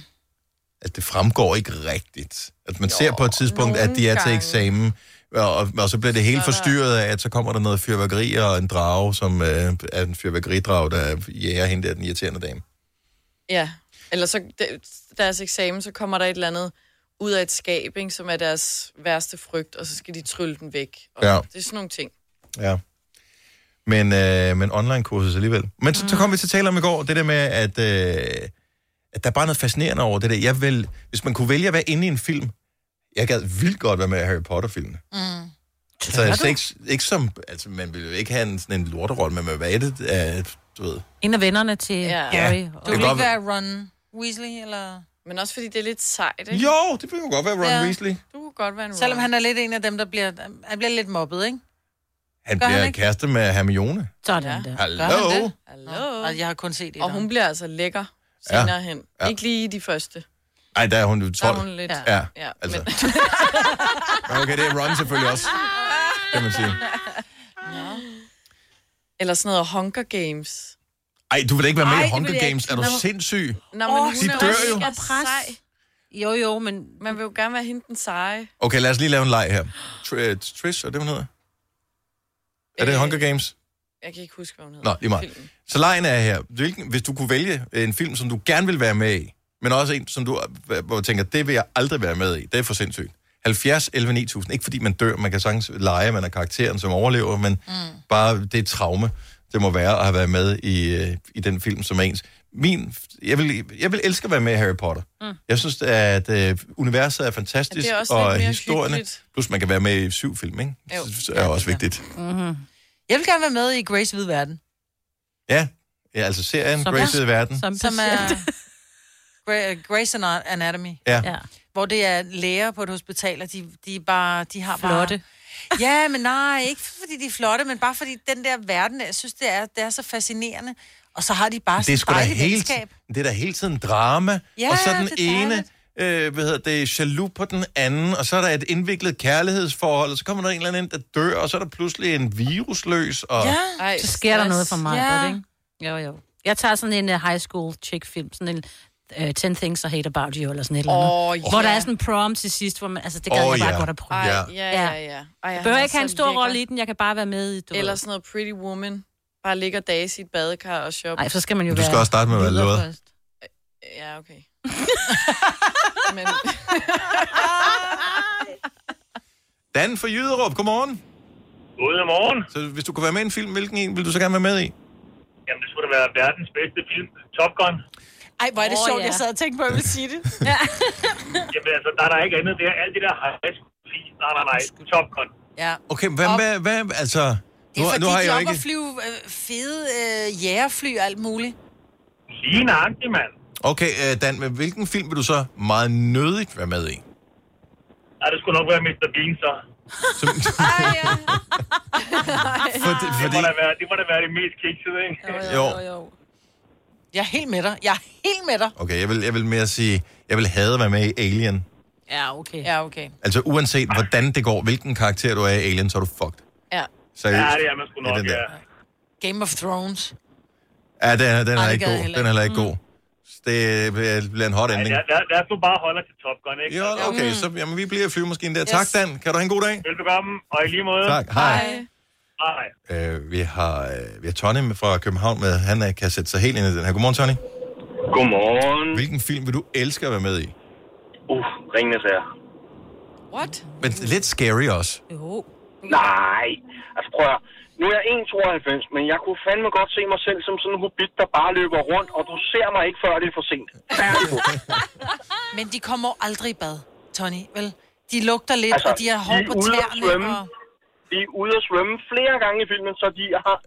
Speaker 1: At det fremgår ikke rigtigt. At man jo, ser på et tidspunkt, at de er til
Speaker 5: gange.
Speaker 1: eksamen, og, og, og så bliver det hele
Speaker 5: Så er der-
Speaker 1: forstyrret af, at så kommer der noget fyrværkeri og en drage, som øh, er en fyrværkeridrag, der jager hende der, den irriterende dame.
Speaker 5: Ja. Eller så det- deres eksamen, så kommer der et eller andet ud af et skab, ikke, som er deres værste frygt, og så skal de trylle den væk. Og
Speaker 1: Ja.
Speaker 5: Det er sådan nogle ting.
Speaker 1: Ja. Men, øh, men online-kursus alligevel. Men så, så kom vi til at tale om i går, det der med, at, øh, at der er bare noget fascinerende over det der. Jeg vil, hvis man kunne vælge at være inde i en film, jeg gad vildt godt være med i Harry Potter-filmen.
Speaker 3: Mm.
Speaker 1: Altså, altså ikke, ikke som, altså, man ville jo ikke have en, sådan en lorterolle, men man ville være i det, af, du ved.
Speaker 2: En af vennerne til ja. Harry.
Speaker 1: Ja.
Speaker 2: Og...
Speaker 1: Det kan godt
Speaker 3: Hvad er Ron Weasley, eller...
Speaker 5: Men også fordi det er lidt sejt, ikke?
Speaker 1: Jo, det kunne jo godt være Ron Weasley.
Speaker 5: Du kunne godt være en
Speaker 3: Selvom
Speaker 5: Ron.
Speaker 3: han er lidt en af dem, der bliver, han bliver lidt mobbet, ikke?
Speaker 1: Han
Speaker 3: Gør han
Speaker 1: bliver
Speaker 3: ikke?
Speaker 1: kæreste med Hermione.
Speaker 3: Sådan der.
Speaker 1: Hallo?
Speaker 5: Hallo.
Speaker 3: Og Altså, jeg har kun set et.
Speaker 5: Og hun bliver altså lækker
Speaker 1: Ja.
Speaker 5: senere ja. hen.
Speaker 1: Ja.
Speaker 5: Ja. Ikke lige i de første.
Speaker 1: Ej, der er hun jo
Speaker 5: Der er
Speaker 1: 12.
Speaker 5: hun lidt...
Speaker 1: Ja.
Speaker 5: ja
Speaker 1: altså.
Speaker 5: Men...
Speaker 1: Men okay, det er Ron selvfølgelig
Speaker 5: (laughs)
Speaker 1: også, kan man sige.
Speaker 5: Eller sådan noget Hunger Games.
Speaker 1: Ej, du vil da ikke være med
Speaker 5: Ej,
Speaker 1: i
Speaker 5: det
Speaker 1: Hunger
Speaker 5: vil jeg
Speaker 1: Games.
Speaker 5: ikke.
Speaker 1: Er du
Speaker 5: Nå,
Speaker 1: sindssyg?
Speaker 5: Nå, men
Speaker 1: Åh,
Speaker 5: hun
Speaker 1: de
Speaker 5: er
Speaker 1: dør
Speaker 5: også
Speaker 1: jo.
Speaker 5: mega Sej.
Speaker 2: Jo, jo, men...
Speaker 5: Man vil jo gerne være hende den seje.
Speaker 1: Okay, lad os lige lave en leg her. Tr- øh, Trish, er det, hun hedder? Er
Speaker 5: Øh,
Speaker 1: det Hunger Games?
Speaker 5: Jeg kan ikke huske, hvad hun hedder.
Speaker 1: Nå, lige meget. Så lejen er her. Hvilken, hvis du kunne vælge en film, som du gerne vil være med i, men også en, som du øh, hvor du tænker, det vil jeg aldrig være med i. Det er for sindssygt. 70, 11, 9000. Ikke fordi man dør, man kan sagtens lege, man er karakteren, som overlever, men mm. bare det traume, det må være at have været med i, øh, i den film, som er ens. Min, jeg, vil, jeg vil elske at være med i Harry Potter. Mm. Jeg synes, at øh, universet er fantastisk,
Speaker 5: Det er også lidt
Speaker 1: og
Speaker 5: mere
Speaker 1: historierne,
Speaker 5: hyggeligt.
Speaker 1: plus man kan være med i syv film, ikke?
Speaker 3: Jo.
Speaker 1: Det er også vigtigt.
Speaker 3: Mm-hmm. Jeg vil gerne være med i Grace Hvide Verden.
Speaker 1: Ja, ja altså serien Grace i verden.
Speaker 3: Som, som er Gra- Grace Ana- Anatomy.
Speaker 1: Ja.
Speaker 3: Hvor det er læger på et hospital, og de, de, er bare, de har
Speaker 2: Flotte.
Speaker 3: bare... Ja, men nej, ikke fordi de er flotte, men bare fordi den der verden, jeg synes, det er, det er så fascinerende. Og så har de bare
Speaker 1: det er sgu da
Speaker 3: dejligt
Speaker 1: hele,
Speaker 3: venskab.
Speaker 1: det er da hele tiden drama,
Speaker 3: Ja,
Speaker 1: og så den
Speaker 3: det er
Speaker 1: ene,
Speaker 3: dejligt.
Speaker 1: øh, hvad hedder det, jaloux på den anden, og så er der et indviklet kærlighedsforhold, og så kommer der en eller anden, ind, der dør, og så er der pludselig en virusløs, og...
Speaker 2: Ej, så sker der
Speaker 4: stress.
Speaker 2: noget for mig,
Speaker 4: Ja.
Speaker 2: ja. ikke? Jo, jo. Jeg tager sådan en uh, high school chick film, sådan en uh, 10 Things I Hate About You, eller sådan et eller
Speaker 4: Åh,
Speaker 2: andet.
Speaker 4: ja.
Speaker 2: Hvor der er sådan en prom til sidst, hvor man, altså det gad
Speaker 4: Åh,
Speaker 2: jeg bare
Speaker 4: ja.
Speaker 2: godt at prøve.
Speaker 5: Ej, ja, ja, ja. ja. Ej,
Speaker 2: Jeg
Speaker 5: han
Speaker 2: behøver
Speaker 5: er
Speaker 2: ikke have en
Speaker 5: så
Speaker 2: stor
Speaker 5: lækker.
Speaker 2: rolle i den, jeg kan bare være med i, du
Speaker 5: Eller sådan noget Pretty Woman. Bare ligge og dase i et badekar og shoppe.
Speaker 2: Nej, så skal man jo
Speaker 1: Du skal også starte med at være
Speaker 2: videre
Speaker 1: lovet.
Speaker 2: først.
Speaker 5: Ja,
Speaker 2: (laughs)
Speaker 5: okay. Men...
Speaker 1: Dan fra Jyderup, godmorgen.
Speaker 7: Godmorgen.
Speaker 1: Så hvis du kunne være med i en film, hvilken en vil du så gerne være med i?
Speaker 7: Jamen, det skulle da være verdens bedste film, Top Gun.
Speaker 3: Ej, hvor er det
Speaker 7: Åh,
Speaker 3: oh, sjovt,
Speaker 7: ja.
Speaker 3: jeg sad og tænkte på, at jeg ville sige det. ja.
Speaker 7: Jamen, altså, der er der ikke andet. Det er alt det der high school please. Nej, nej, nej. Top Gun.
Speaker 3: (laughs) ja.
Speaker 1: Okay, hvad, hvad, hvad altså...
Speaker 3: Det er fordi,
Speaker 1: nu har
Speaker 3: de
Speaker 1: jeg
Speaker 3: er
Speaker 1: jo
Speaker 3: oppe
Speaker 1: ikke...
Speaker 3: at flyve øh, fede øh, jægerfly og alt muligt.
Speaker 7: Lige nøjagtigt, mand.
Speaker 1: Okay, øh, Dan, men hvilken film vil du så meget nødigt være med i?
Speaker 7: Ja, det skulle nok være Mr. Bean, så.
Speaker 1: (laughs) Fordi,
Speaker 7: Det, må da være, det må da være det mest kiksede, ikke?
Speaker 1: Jo.
Speaker 3: jo. Jeg er helt med dig. Jeg er helt med dig.
Speaker 1: Okay, jeg vil, jeg vil mere sige, jeg vil have at være med i Alien.
Speaker 3: Ja, okay. Ja, okay.
Speaker 1: Altså uanset hvordan det går, hvilken karakter du er i Alien, så er du fucked.
Speaker 3: Ja.
Speaker 1: Seriøst.
Speaker 7: Ja, det er man sgu
Speaker 1: Ja,
Speaker 7: nok,
Speaker 1: den der.
Speaker 7: ja.
Speaker 3: Game of Thrones.
Speaker 1: Ja, den er, den er
Speaker 7: Ej, det
Speaker 1: ikke
Speaker 7: gad
Speaker 1: god.
Speaker 7: jeg heller
Speaker 1: Den er heller
Speaker 7: ikke.
Speaker 1: ikke god. Det bliver- bliver en hot
Speaker 7: Ej,
Speaker 1: ending.
Speaker 7: lad, lad, lad os nu bare holde os til Top Gun, ikke?
Speaker 1: Jo, okay, så jamen, vi bliver i flyvemaskinen der. Tak, Dan. Kan du have en god dag?
Speaker 7: Velbekomme, og i lige måde.
Speaker 1: Tak. Hej.
Speaker 7: Hej.
Speaker 1: Øh, vi, har, øh, vi har Tony med- fra København med. Han øh, kan sætte sig helt ind i den her. Godmorgen, Tony.
Speaker 7: Godmorgen.
Speaker 1: Hvilken film vil du elske at være med i?
Speaker 7: Uff, ringende sager.
Speaker 5: What?
Speaker 1: Men lidt scary også.
Speaker 7: Jo. Nej. Altså prøv at høre. Nu er jeg 1,92, men jeg kunne fandme godt se mig selv som sådan en hobbit, der bare løber rundt, og du ser mig ikke, før det er for sent.
Speaker 3: Men de kommer jo aldrig i bad, Tony, vel? De lugter lidt, altså, og de har hår
Speaker 7: er
Speaker 3: på
Speaker 7: ude at svømme.
Speaker 3: tæerne. Og...
Speaker 7: De er ude at svømme flere gange i filmen, så de har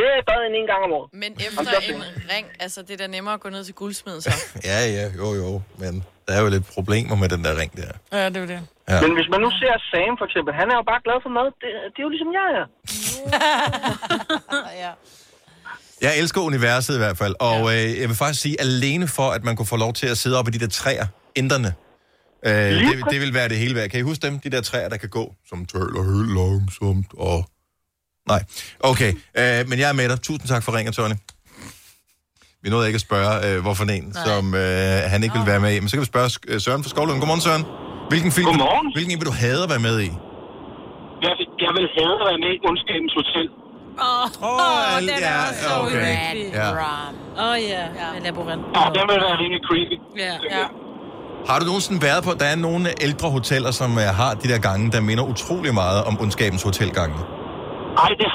Speaker 7: mere i bad end en gang om året.
Speaker 5: Men
Speaker 7: Jamen,
Speaker 5: efter
Speaker 7: der
Speaker 5: en ring, altså det er da nemmere at gå ned til guldsmeden så.
Speaker 1: Ja, ja, jo, jo. Men der er jo lidt problemer med den der ring der.
Speaker 3: Ja, det er det.
Speaker 1: Ja.
Speaker 7: Men hvis man nu ser Sam for eksempel, han er jo bare glad for mad. Det, det er jo ligesom
Speaker 3: (laughs)
Speaker 7: jeg er.
Speaker 3: ja.
Speaker 1: Jeg elsker universet i hvert fald, og øh, jeg vil faktisk sige, alene for, at man kunne få lov til at sidde oppe i de der træer, ænderne, øh, det, det vil være det hele værd. Kan I huske dem, de der træer, der kan gå, som tøller helt langsomt, og... Nej, okay, øh, men jeg er med dig. Tusind tak for ringen, Tony. Vi nåede ikke at spørge, øh, hvorfor en, Nej. som øh, han ikke vil være med i. Men så kan vi spørge øh, Søren fra Skovlund. Godmorgen, Søren. Hvilken film, Godmorgen. Hvilken en vil du have at være med i?
Speaker 7: Jeg, vil- jeg vil have at være med i Undskabens Hotel.
Speaker 2: Åh, oh, oh, den er
Speaker 1: ja,
Speaker 2: også så
Speaker 1: okay.
Speaker 2: uhyggelig.
Speaker 1: Ja.
Speaker 2: Åh oh, ja, med labyrint.
Speaker 7: Ja, den vil være rimelig creepy.
Speaker 2: Ja. ja.
Speaker 1: Har du nogensinde været på, der er nogle ældre hoteller, som øh, har de der gange, der minder utrolig meget om ondskabens hotelgange?
Speaker 7: Nej, det,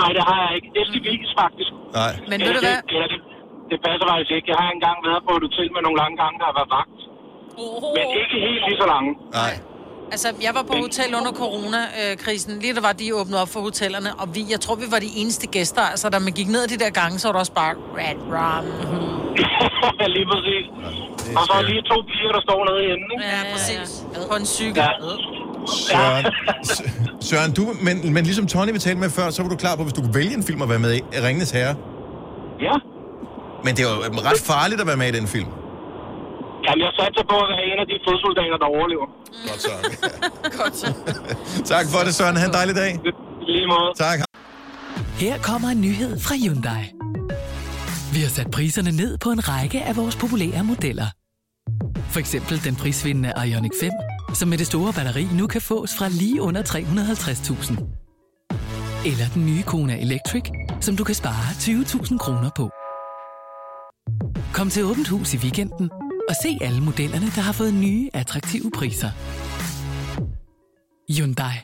Speaker 7: nej, det har jeg ikke. Det skal vi ikke, faktisk.
Speaker 1: Nej.
Speaker 7: Men ved du hvad? Det, det, det passer faktisk ikke. Jeg har engang været på et hotel med nogle lange gange, der har været vagt. Men ikke helt lige så lange.
Speaker 1: Nej.
Speaker 3: Altså, jeg var på hotel under coronakrisen, lige da var de åbnede op for hotellerne, og vi, jeg tror, vi var de eneste gæster. Altså, da man gik ned ad de der gange, så var der også bare red rum.
Speaker 7: (laughs) lige præcis. Og så er lige to piger, der står nede i enden, ikke?
Speaker 3: Ja, præcis. På en cykel.
Speaker 1: Søren, Søren du, men, men ligesom Tony vi talte med før, så var du klar på, hvis du kunne vælge en film at være med i, Ringenes Herre.
Speaker 7: Ja.
Speaker 1: Men det er jo øhm, ret farligt at være med i den film.
Speaker 7: Jamen, jeg satser på at være en af de fodsoldater, der overlever.
Speaker 1: Godt så. Godt så. tak for det, Søren. Ha' en dejlig dag.
Speaker 7: Lige måde.
Speaker 1: Tak.
Speaker 15: Her kommer en nyhed fra Hyundai. Vi har sat priserne ned på en række af vores populære modeller. For eksempel den prisvindende Ioniq 5, som med det store batteri nu kan fås fra lige under 350.000. Eller den nye Kona Electric, som du kan spare 20.000 kroner på. Kom til Åbent Hus i weekenden og se alle modellerne, der har fået nye, attraktive priser. Hyundai.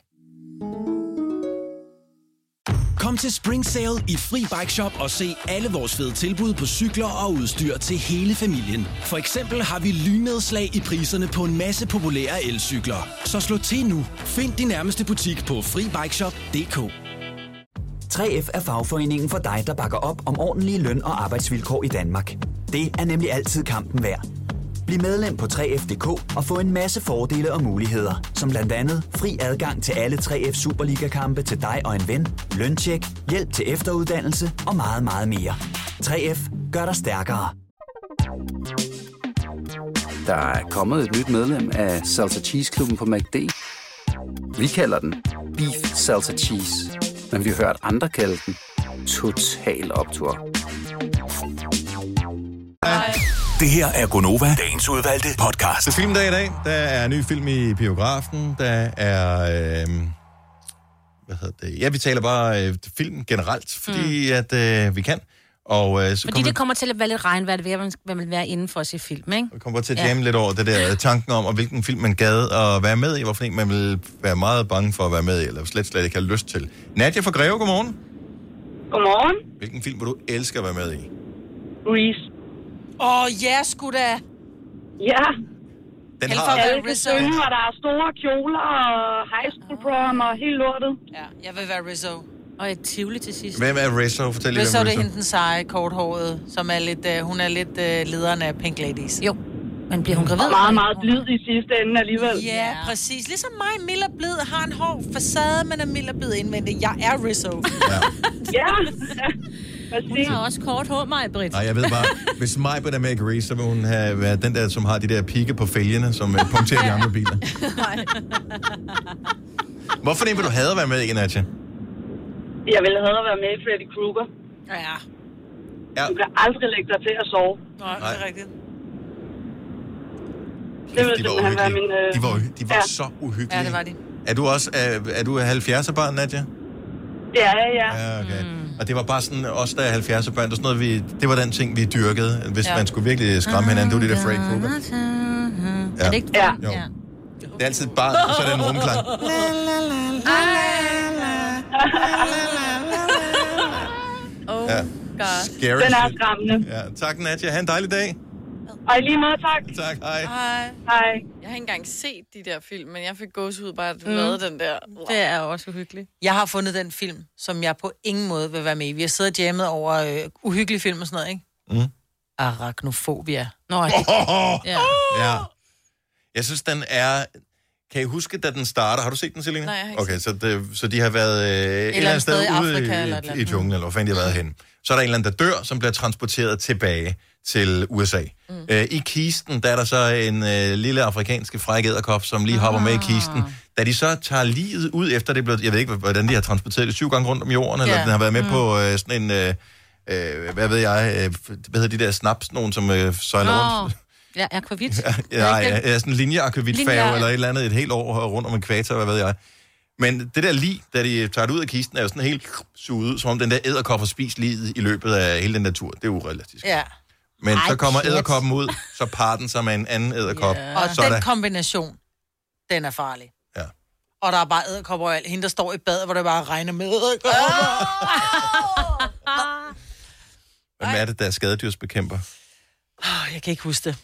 Speaker 16: Kom til Spring Sale i Fri Bike Shop og se alle vores fede tilbud på cykler og udstyr til hele familien. For eksempel har vi lynnedslag i priserne på en masse populære elcykler. Så slå til nu. Find din nærmeste butik på FriBikeShop.dk
Speaker 17: 3F er fagforeningen for dig, der bakker op om ordentlige løn- og arbejdsvilkår i Danmark. Det er nemlig altid kampen værd. Bliv medlem på 3F.dk og få en masse fordele og muligheder, som blandt andet fri adgang til alle 3F Superliga-kampe til dig og en ven, løntjek, hjælp til efteruddannelse og meget, meget mere. 3F gør dig stærkere.
Speaker 18: Der er kommet et nyt medlem af Salsa Cheese Klubben på MACD. Vi kalder den Beef Salsa Cheese, men vi har hørt andre kalde den Total Optor.
Speaker 11: Det her er Gonova, dagens udvalgte podcast.
Speaker 1: Det er filmdag i Altså, dag. Der er en ny film i biografen. Der er... Øh, hvad hedder det? Ja, vi taler bare øh, film generelt, fordi mm. at øh, vi kan. Og øh, så
Speaker 2: Fordi
Speaker 1: kommer
Speaker 2: det kommer til at være lidt regnvejr, det vil man man vil være inden for at se film, ikke?
Speaker 1: kommer til at jamme lidt over det der øh, tanken om, og hvilken film man gad at være med i, hvorfor en man vil være meget bange for at være med i, eller slet, slet ikke har lyst til. Nadia fra Greve, godmorgen.
Speaker 19: Godmorgen.
Speaker 1: Hvilken film vil du elske at være med i?
Speaker 19: Reese.
Speaker 3: Åh, ja, sgu da.
Speaker 19: Ja.
Speaker 1: Den
Speaker 19: Alle
Speaker 1: har...
Speaker 19: Alle kan synge, og der er store kjoler og high school prom og helt lortet.
Speaker 3: Ja, jeg vil være Rizzo. Og et Tivoli til sidst.
Speaker 1: Hvem er Rizzo? Fortæl lige,
Speaker 3: Rizzo
Speaker 1: hvem
Speaker 3: det er hende den seje, korthåret, som er lidt, øh, hun er lidt øh, lederen af Pink Ladies. Jo, men bliver hun gravid?
Speaker 19: Og meget, meget blid i sidste ende alligevel.
Speaker 3: Ja, præcis. Ligesom mig, mild og blid, har en hård facade, men er mild og blid indvendigt. Jeg er (laughs) Rizzo.
Speaker 19: ja.
Speaker 2: Hun har også kort hår, mig, Britt.
Speaker 1: Nej, jeg ved bare, hvis mig på der med Grease, så vil hun have været den der, som har de der pigge på fælgene, som øh, punkterer de andre biler. Hvorfor en vil du have at være med i, Nadia?
Speaker 19: Jeg ville have at være med i Freddy Krueger.
Speaker 3: Ja.
Speaker 1: ja.
Speaker 19: Du kan aldrig lægge dig til at sove.
Speaker 3: Nej,
Speaker 1: det er
Speaker 3: rigtigt.
Speaker 19: Det vil
Speaker 1: De var
Speaker 19: simpelthen være min...
Speaker 1: uhyggelige.
Speaker 19: Øh...
Speaker 1: De var, uhy- de var så uhyggelige.
Speaker 19: Ja, det var de.
Speaker 1: Er du også er, er du 70'er barn, Nadia?
Speaker 19: Ja, ja, ja. Mm.
Speaker 1: Ja, okay. Og det var bare sådan, os der er 70'er børn, det, var sådan noget, vi, det var den ting, vi dyrkede, hvis
Speaker 2: Ja.
Speaker 1: ja. man skulle virkelig skræmme hinanden. Det var det der Freddy Krueger.
Speaker 2: Er det ikke ja.
Speaker 1: Jo. Det er altid et barn, og så er det en rumklang.
Speaker 5: Oh
Speaker 1: Ja.
Speaker 5: god.
Speaker 1: Scary
Speaker 19: Den er
Speaker 1: shit.
Speaker 19: skræmmende.
Speaker 1: Ja, tak Nadia. Ha' en dejlig dag.
Speaker 19: Og i lige måde, tak.
Speaker 1: Tak, hej.
Speaker 5: Hej.
Speaker 19: Hej.
Speaker 5: Jeg har ikke engang set de der film, men jeg fik gåsehud bare, at du
Speaker 3: Mm.
Speaker 5: mm. lavede den der.
Speaker 3: (laughs) Det er også uhyggeligt. Jeg har fundet den film, som jeg på ingen måde vil være med i. Vi har siddet og jammet over øh, uhyggelige film og sådan noget, ikke?
Speaker 1: Mm.
Speaker 3: Arachnofobia. Nå, det... ja.
Speaker 1: Ja. Jeg synes, den er... Kan I huske, da den starter? Har du set den, Selina?
Speaker 3: Nej, jeg har ikke
Speaker 1: Okay, så, det, så de har været øh, et eller andet sted,
Speaker 3: sted i
Speaker 1: ude
Speaker 3: Afrika
Speaker 1: i,
Speaker 3: eller et eller
Speaker 1: i, i
Speaker 3: andet.
Speaker 1: junglen, eller hvor fanden de har været henne. Så er der en eller anden, der dør, som bliver transporteret tilbage til USA. Mm. Øh, I kisten, der er der så en øh, lille afrikanske frækæderkop, som lige hopper med i kisten. Da de så tager livet ud efter det er blevet... Jeg ved ikke, hvordan de har transporteret det syv gange rundt om jorden, eller
Speaker 11: Ja.
Speaker 1: den har været med
Speaker 11: Mm.
Speaker 1: mm. på øh, sådan en... Øh, øh, hvad ved jeg? Øh, hvad hedder de der snaps, nogen som øh, sejler rundt?
Speaker 2: Nå. Ja, akvavit.
Speaker 1: Ja, ja, ja sådan en linjeakvavitfærge
Speaker 2: Linje-
Speaker 1: eller et eller andet et helt år rundt om ekvator, hvad ved jeg. Men det der lige, da de tager det ud af kisten, er jo sådan helt suget ud, som om den der æderkop har spist livet i løbet af hele den natur. Det er urealistisk.
Speaker 3: ja.
Speaker 1: Men
Speaker 3: Ej,
Speaker 1: så kommer
Speaker 3: pjat.
Speaker 1: æderkoppen ud, så parer den sig med en anden æderkop.
Speaker 3: Og
Speaker 1: Så er
Speaker 3: den
Speaker 1: der-
Speaker 3: kombination, den er farlig.
Speaker 1: Ja.
Speaker 3: Og der er bare æderkopper og alt. Hende, der står i badet, hvor det bare regner med æderkopper.
Speaker 1: Hvem er det, der er skadedyrsbekæmper?
Speaker 3: Åh, Jeg kan ikke huske det.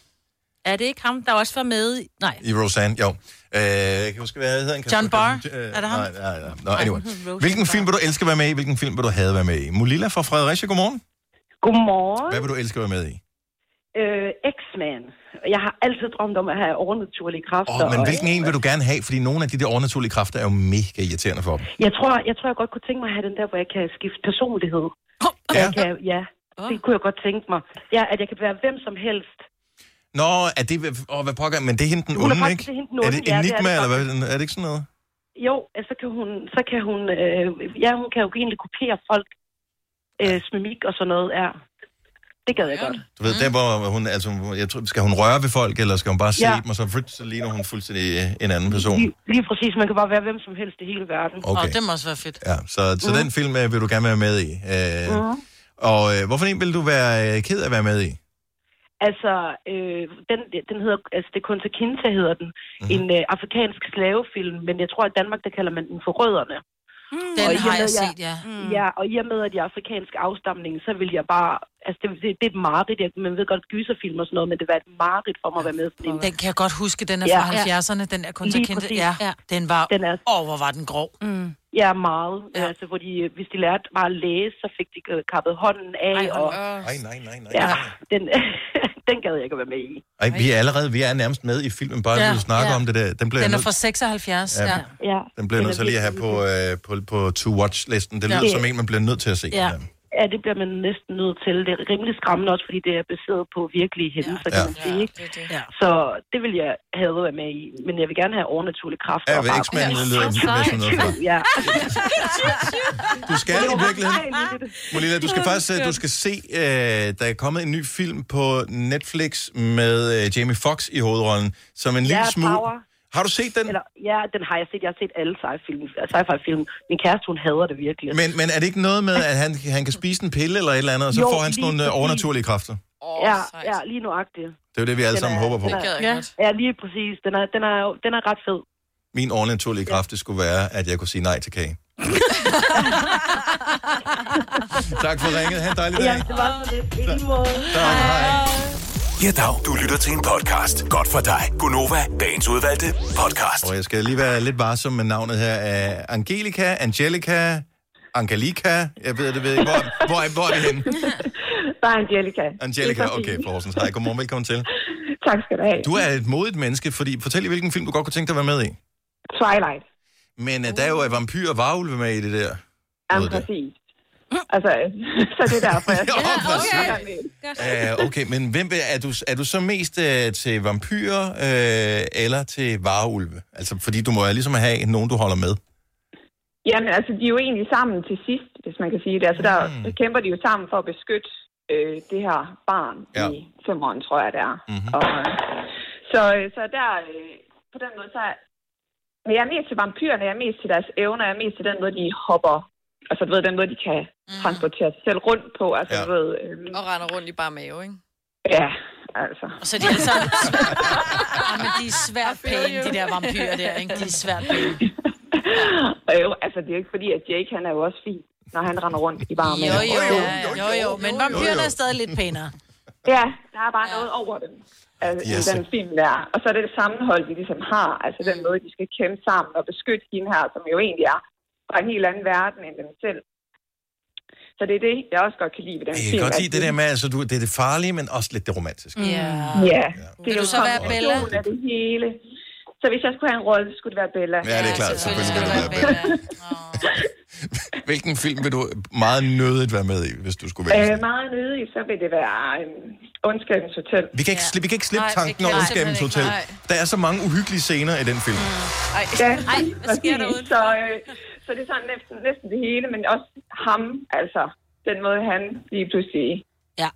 Speaker 4: Er det ikke ham, der også var med? i- Nej.
Speaker 1: I Roseanne, jo. Øh, jeg kan huske, hvad hedder han? Kan
Speaker 4: John
Speaker 1: huske,
Speaker 4: Barr?
Speaker 1: den-
Speaker 4: Er det ham?
Speaker 1: Nej, nej, nej. Nå,
Speaker 4: Nej,
Speaker 1: anyway.
Speaker 4: han hed Roseanne
Speaker 1: Hvilken film vil du elske at være med i? Hvilken film vil du have været med i? Mulilla fra Fredericia, godmorgen.
Speaker 21: Godmorgen.
Speaker 1: Hvad vil du elske at være med i?
Speaker 21: Øh, X-Man. Jeg har altid drømt om at have overnaturlige kræfter.
Speaker 1: Åh, men
Speaker 21: og-
Speaker 1: hvilken en vil du gerne have? Fordi nogle af de der overnaturlige kræfter er jo mega irriterende for dem.
Speaker 21: Jeg tror, jeg tror, jeg godt kunne tænke mig at have den der, hvor jeg kan skifte personlighed. Oh, ja. Jeg kan, ja, det kunne jeg godt tænke mig. Ja, at jeg kan være hvem som helst.
Speaker 1: Nå, er det... Åh, hvad pokker... Men det er hende den
Speaker 21: Hun er
Speaker 1: onde,
Speaker 21: faktisk-
Speaker 1: ikke?
Speaker 21: det er hende den
Speaker 1: Er
Speaker 21: onde,
Speaker 1: det
Speaker 21: ja, det er det
Speaker 1: Enigma, eller hvad? Er det ikke sådan noget?
Speaker 21: Jo, at så kan hun, så kan hun, øh, ja, hun kan jo egentlig kopiere folk. Øh, smimik og sådan noget, ja. Det gad jeg godt.
Speaker 1: Du ved, mm. der hvor hun... Altså, jeg tror, skal hun røre ved folk, eller skal hun bare se
Speaker 21: Ja.
Speaker 1: dem, og så, fryt, så ligner hun fuldstændig øh, en anden person?
Speaker 21: Lige, lige præcis, man kan bare være hvem som helst i hele verden.
Speaker 1: Okay. Åh, det
Speaker 21: må også være fedt.
Speaker 1: Ja, så, så mm. den film øh, vil du gerne være med i. Øh, mm.
Speaker 21: Mm.
Speaker 1: Og øh, hvorfor en vil du være øh, ked af at være med i?
Speaker 21: Altså, øh, den, den hedder, altså det er Kunta Kinte hedder den.
Speaker 1: Mhm.
Speaker 21: Mm-hmm. En øh, afrikansk slavefilm, men jeg tror, at i Danmark, der kalder man den for rødderne. Mm.
Speaker 2: Den har jeg set, ja.
Speaker 21: Mm. Ja, og i og med, at jeg er afrikansk afstamning, så vil jeg bare... Altså, det, det, det er et mareridt. Jeg, man ved godt, gyserfilm og sådan noget, men det var et mareridt for mig at være med i sådan en.
Speaker 3: Den kan jeg godt huske, den er
Speaker 21: Ja.
Speaker 3: fra ja. 70'erne, den er kun
Speaker 21: Lige
Speaker 3: kendte.
Speaker 21: præcis.
Speaker 3: Ja,
Speaker 21: Ja.
Speaker 3: den var, den er... åh, hvor var den grov.
Speaker 21: Mm. Ja, meget. Ja. Altså, hvor de, øh, hvis de lærte bare at læse, så fik de øh, kappet hånden af.
Speaker 1: Ej, hold
Speaker 21: og,
Speaker 1: op. Ej, nej, nej, nej.
Speaker 21: Ja, den, (laughs) den gad jeg ikke at være med i.
Speaker 1: Ej, vi er allerede vi er nærmest med i filmen, bare ja.
Speaker 21: Ja.
Speaker 1: du snakker ja.
Speaker 21: Ja.
Speaker 1: om det der. Den bliver
Speaker 3: Den
Speaker 1: jeg
Speaker 3: er
Speaker 1: nødt-
Speaker 3: fra 76,
Speaker 1: Ja.
Speaker 3: ja.
Speaker 21: ja.
Speaker 1: Den bliver jeg nødt til lige at have på, øh, på, på to-watch-listen. Det
Speaker 21: Ja.
Speaker 1: lyder som en, man bliver nødt til at se.
Speaker 21: Ja. ja, det bliver man næsten nødt til. Det er rimelig skræmmende også, fordi det er baseret på virkelige hændelser, ja. kan man sige. Ja, det
Speaker 3: det.
Speaker 21: Ja. Så det vil jeg have været med i. Men jeg vil gerne have overnaturlige kræfter.
Speaker 1: Ja,
Speaker 21: og
Speaker 1: ved
Speaker 21: bare-
Speaker 1: X-Men lyder det som sådan noget fra.
Speaker 21: Ja.
Speaker 1: Du skal i virkeligheden... Molina, du skal
Speaker 21: Åh,
Speaker 1: faktisk øh, du
Speaker 21: skønt.
Speaker 1: skal se, øh, der er kommet en ny film på Netflix med øh, Jamie Foxx i hovedrollen, som en lille
Speaker 21: Ja,
Speaker 1: smule...
Speaker 21: Power.
Speaker 1: Har du set den?
Speaker 21: Eller, ja, den har jeg set. Jeg har set alle sci-fi-film. Sci-fi-film. Min kæreste, hun hader det virkelig.
Speaker 1: Men, men er det ikke noget med, at han, han kan spise en pille eller et eller andet, og så
Speaker 21: Jo,
Speaker 1: får han sådan
Speaker 21: lige
Speaker 1: nogle øh,
Speaker 21: præcis.
Speaker 1: overnaturlige kræfter? Det
Speaker 21: ja, ja, lige nuagtigt.
Speaker 1: er jo det, vi alle
Speaker 21: Den
Speaker 1: sammen
Speaker 21: er-
Speaker 1: håber på.
Speaker 21: den er- ja, ja, lige præcis. Den er, den, er, den er ret fed.
Speaker 1: Min overnaturlige kraft, det skulle være, at jeg kunne sige nej til
Speaker 21: (laughs)
Speaker 1: kage. tak for ringet. Ha' en dejlig dag.
Speaker 21: Ja, det var så lidt. I lige måde.
Speaker 11: Ja, dag. Du lytter til en podcast. Godt for dig. Gunova, dagens udvalgte podcast.
Speaker 1: Og jeg skal lige være lidt varsom med navnet her. Øh, Angelica, Angelica, Angelica, jeg ved det, ved ikke. Hvor, hvor, er, hvor er vi henne?
Speaker 12: (laughs) Der er Angelica.
Speaker 1: Angelica,
Speaker 12: Det er så
Speaker 1: okay,
Speaker 12: fint.
Speaker 1: fra Horsens. Hej, godmorgen, velkommen til.
Speaker 12: Tak skal du have.
Speaker 1: Du er et modigt menneske, fordi fortæl lige, hvilken film du godt kunne tænke dig at være med i.
Speaker 12: Twilight.
Speaker 1: Men uh, der er jo øh, vampyrer og varulve med i det der.
Speaker 12: Ja,
Speaker 1: Ved det.
Speaker 12: præcis. Altså, (laughs) så det er derfor, jeg skal.
Speaker 1: (laughs) Ja, præcis.
Speaker 12: okay.
Speaker 1: Uh, okay, men hvem vil, er, du, er du så mest uh, til vampyrer uh, eller til varulve? Altså, fordi du må jo ligesom have nogen, du holder med.
Speaker 12: Jamen, altså, de er jo egentlig sammen til sidst, hvis man kan sige det. Altså, der,
Speaker 1: Mm.
Speaker 12: der kæmper de jo sammen for at beskytte øh, det her barn ja. i femåren, tror jeg, det er.
Speaker 1: Mhm.
Speaker 12: Mm-hmm. Og, øh, så, øh, så der, øh, på den måde, så er... Men jeg er mest til vampyrerne, jeg er mest til deres evner, jeg er mest til den måde, de hopper. Altså, du ved, den måde, de kan
Speaker 3: Mhm.
Speaker 12: transportere sig selv rundt på. Altså, ja. du ved... Øh,
Speaker 5: Og render rundt i bare mave, ikke?
Speaker 12: ja, altså. (laughs)
Speaker 3: Og så er de alle sammen... ja, men de er svært pæne, de der vampyrer der, ikke? De er svært pæne.
Speaker 12: Og jo, altså, det er jo ikke fordi, at Jake, han er jo også fin, når han render rundt i bare med.
Speaker 3: Jo, jo, jo, jo, jo. Men vampyrerne er stadig lidt pænere.
Speaker 12: Ja, der er bare ja. noget over dem. Altså,
Speaker 3: Ja,
Speaker 12: yes.
Speaker 3: så-
Speaker 12: den film der. Og så er det det sammenhold, de ligesom har. Altså den måde, de skal kæmpe sammen og beskytte hende her, som jo egentlig er fra en helt anden verden end dem selv. Så det er det, jeg også godt kan lide ved den
Speaker 1: Jeg
Speaker 12: film.
Speaker 1: kan godt lide
Speaker 12: at
Speaker 1: det der med, altså, du, det er det farlige, men også lidt det romantiske.
Speaker 12: Ja. ja. Det er jo så være Bella? Af det hele. Så hvis jeg skulle have en rolle, så skulle det være Bella.
Speaker 1: Ja, det er klart. Selvfølgelig vil du være med. Hvilken film vil du meget nødigt være med i, hvis du skulle vælge?
Speaker 12: Øh, meget nødig, så vil det være en ondskabens hotel.
Speaker 1: Vi kan ikke, sli- vi kan ikke slippe
Speaker 12: Nej, vi
Speaker 1: tanken om
Speaker 12: kan
Speaker 1: Ondskabens Hotel.
Speaker 12: simpelthen ikke, Mm.
Speaker 1: Der er så mange uhyggelige scener i den film.
Speaker 12: Ej, ja, Ej hvad sker der så, øh, så det er sådan næsten, næsten det hele, men også ham, altså den måde, han lige pludselig
Speaker 2: ja.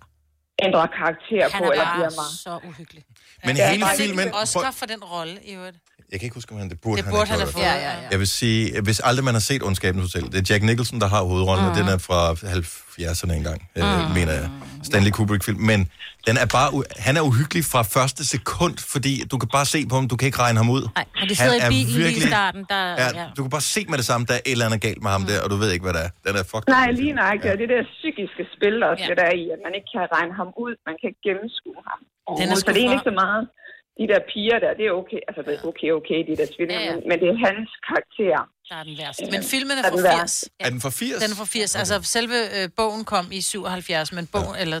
Speaker 12: ændrer karakter
Speaker 3: Han
Speaker 12: på,
Speaker 3: er
Speaker 12: eller bliver mig.
Speaker 3: bare så uhyggelig.
Speaker 1: Men
Speaker 12: Ja,
Speaker 1: hele
Speaker 12: der er ikke
Speaker 1: filmen...
Speaker 12: en
Speaker 3: Oscar for den rolle, i øvrigt.
Speaker 1: Jeg kan ikke huske, om han det burde,
Speaker 3: Det burde han
Speaker 1: have
Speaker 3: have
Speaker 1: gjort.
Speaker 3: fået. Ja, ja, ja.
Speaker 1: Jeg vil sige, hvis aldrig man har set Ondskabens Hotel, det er Jack Nicholson, der har hovedrollen, og
Speaker 12: Mhm.
Speaker 1: den er fra 70'erne engang, øh, mener jeg. Stanley Kubrick-film. Men den er bare, u- han er uhyggelig fra første sekund, fordi du kan bare se på ham, du kan ikke regne ham ud.
Speaker 2: Nej, og de
Speaker 1: Han
Speaker 2: sidder
Speaker 1: er
Speaker 2: i bilen virkelig... lige i
Speaker 1: virkelig-
Speaker 2: starten. Der,
Speaker 1: Ja, du kan bare se med det samme, der er et eller andet galt med ham der, og du ved ikke, hvad der er. Den er fucking...
Speaker 12: Nej, lige nøjagtigt. Ja. Det der psykiske spil også, ja. det der er i, at man ikke kan regne ham ud, man kan ikke gennemskue ham.
Speaker 3: Den er
Speaker 12: så det er
Speaker 3: sgu
Speaker 12: egentlig
Speaker 3: for-
Speaker 12: ikke så meget de der piger der, det er okay. Altså, men okay, okay, de der tvillinger, ja, ja. Men, men det er hans karakter.
Speaker 3: Der er den værste.
Speaker 12: Ja.
Speaker 3: Altså, Men filmen er
Speaker 12: Er
Speaker 3: fra
Speaker 12: den værre?
Speaker 3: 80.
Speaker 1: Er den fra 80?
Speaker 3: Den er fra 80. Altså, selve øh, bogen kom i 77, men bogen, ja. eller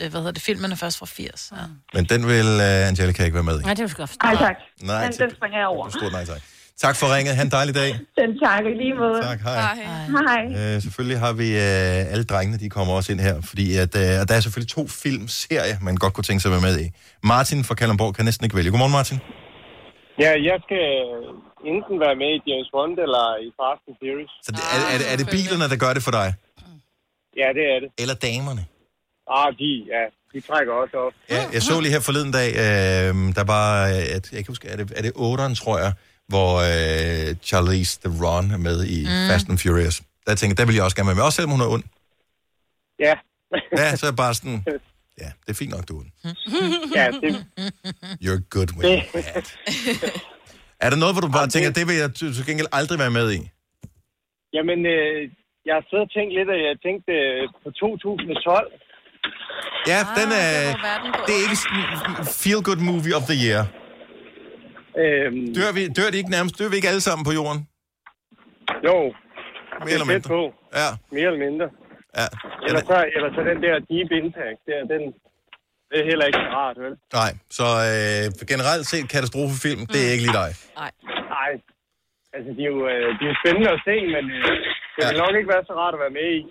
Speaker 3: øh, hvad hedder det, filmen er først fra 80. Ja.
Speaker 1: Men den vil uh, Angelica ikke være med i.
Speaker 3: det er jo godt.
Speaker 12: Nej, tak.
Speaker 1: Nej,
Speaker 12: den,
Speaker 1: til-
Speaker 12: den springer jeg over.
Speaker 1: Stort nej tak. Tak for ringet. Han en dejlig dag.
Speaker 12: Den takker lige måde.
Speaker 1: Tak, hej.
Speaker 12: Hej.
Speaker 1: Øh, selvfølgelig har vi øh, alle drengene, de kommer også ind her, fordi at, øh, og der er selvfølgelig to filmserier, man godt kunne tænke sig at være med i. Martin fra Kalundborg kan næsten ikke vælge. Godmorgen, Martin.
Speaker 22: Ja, jeg skal enten være med i James Bond eller i Fast and Furious. Ah.
Speaker 1: Så det, er, er, det, er det bilerne, der gør det for dig?
Speaker 22: Ja, det er det.
Speaker 1: Eller damerne?
Speaker 22: Ah, de, ja. De trækker også op.
Speaker 1: Ja, jeg så lige her forleden dag, øh, der var, øh, at, jeg kan ikke huske, er det, er det 8'eren, tror jeg, hvor øh, Charlize Theron er med i mm.
Speaker 22: Mm.
Speaker 1: Fast and Furious. Der tænkte jeg, der vil jeg også gerne være med, også selvom hun er ond.
Speaker 22: Ja.
Speaker 1: Ja, så er jeg bare sådan, ja, det er fint nok, du er ond.
Speaker 22: ja, det,
Speaker 1: You're good with
Speaker 22: det.
Speaker 1: it. Er der noget, hvor du bare tænker, det vil jeg til til gengæld aldrig være med i?
Speaker 22: (laughs) Jamen, øh, jeg har siddet og tænkt lidt, og jeg tænkte øh, på 2012.
Speaker 1: Ja, ah, den er... Det er ikke sådan feel good movie of the year.
Speaker 22: Øhm,
Speaker 1: dør, vi, dør de ikke nærmest? Dør vi ikke alle sammen på jorden?
Speaker 22: Jo.
Speaker 1: Mere eller mindre.
Speaker 22: På.
Speaker 1: Ja.
Speaker 22: Mere eller mindre.
Speaker 1: Ja.
Speaker 22: Eller så, eller så den der Deep Impact, der, den det er heller ikke så rart, vel?
Speaker 1: Nej, så øh, generelt set katastrofefilm, det er ikke lige dig.
Speaker 22: Nej. Nej. Altså, de er jo, øh, de er jo spændende at se, men øh, det vil nok ikke være så rart at være med i.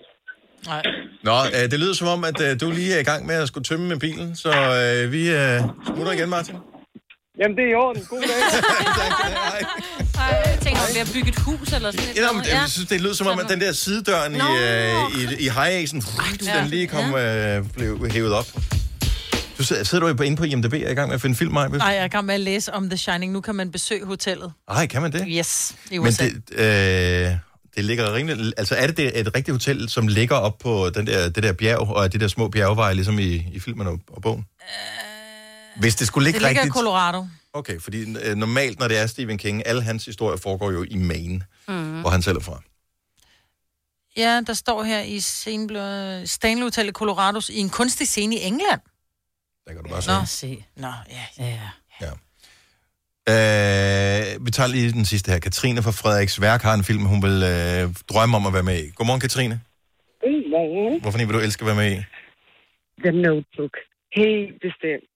Speaker 3: Nej.
Speaker 1: Nå, øh, det lyder som om, at øh, du lige er i gang med at skulle tømme med bilen, så øh, vi øh, smutter igen, Martin.
Speaker 22: Jamen, det er i orden. God
Speaker 1: (laughs)
Speaker 22: dag.
Speaker 4: Ej, jeg tænker, om vi har bygget et hus eller sådan
Speaker 1: Ja, nå, men, jeg synes, det lyder som om, at den der sidedøren i, øh, i, i high-acen, den lige kom, øh, blev hævet op. Du sidder, sidder du inde på IMDb, er i gang med at finde film, Maja?
Speaker 3: Nej, jeg er i gang med at læse om The Shining. Nu kan man besøge hotellet.
Speaker 1: Ej, kan man det?
Speaker 3: Yes, i
Speaker 1: Men
Speaker 3: USA.
Speaker 1: det, øh, det ligger rimelig... Altså, er det, det et rigtigt hotel, som ligger op på den der, det der bjerg, og er de der små bjergveje, ligesom i, i filmen og, og bogen? Hvis det skulle
Speaker 3: Øh, det
Speaker 1: ligge
Speaker 3: ligger i
Speaker 1: rigtigt...
Speaker 3: Colorado.
Speaker 1: Okay, fordi øh, normalt, når det er Stephen King, alle hans historier foregår jo i Maine, mm.
Speaker 3: Mm.
Speaker 1: hvor han selv er fra.
Speaker 3: Ja, der står her i Stenblø... Stanley Hotel i Colorado i en kunstig scene i England.
Speaker 1: Der kan du bare se.
Speaker 3: Nå, se. Nå, ja. ja.
Speaker 1: Øh, vi tager lige den sidste her. Katrine fra Frederiks Værk har en film, hun vil øh, drømme om at være med i. Godmorgen, Katrine.
Speaker 23: Godmorgen.
Speaker 1: Hvorfor vil du elske at være med i?
Speaker 23: The Notebook. Helt bestemt.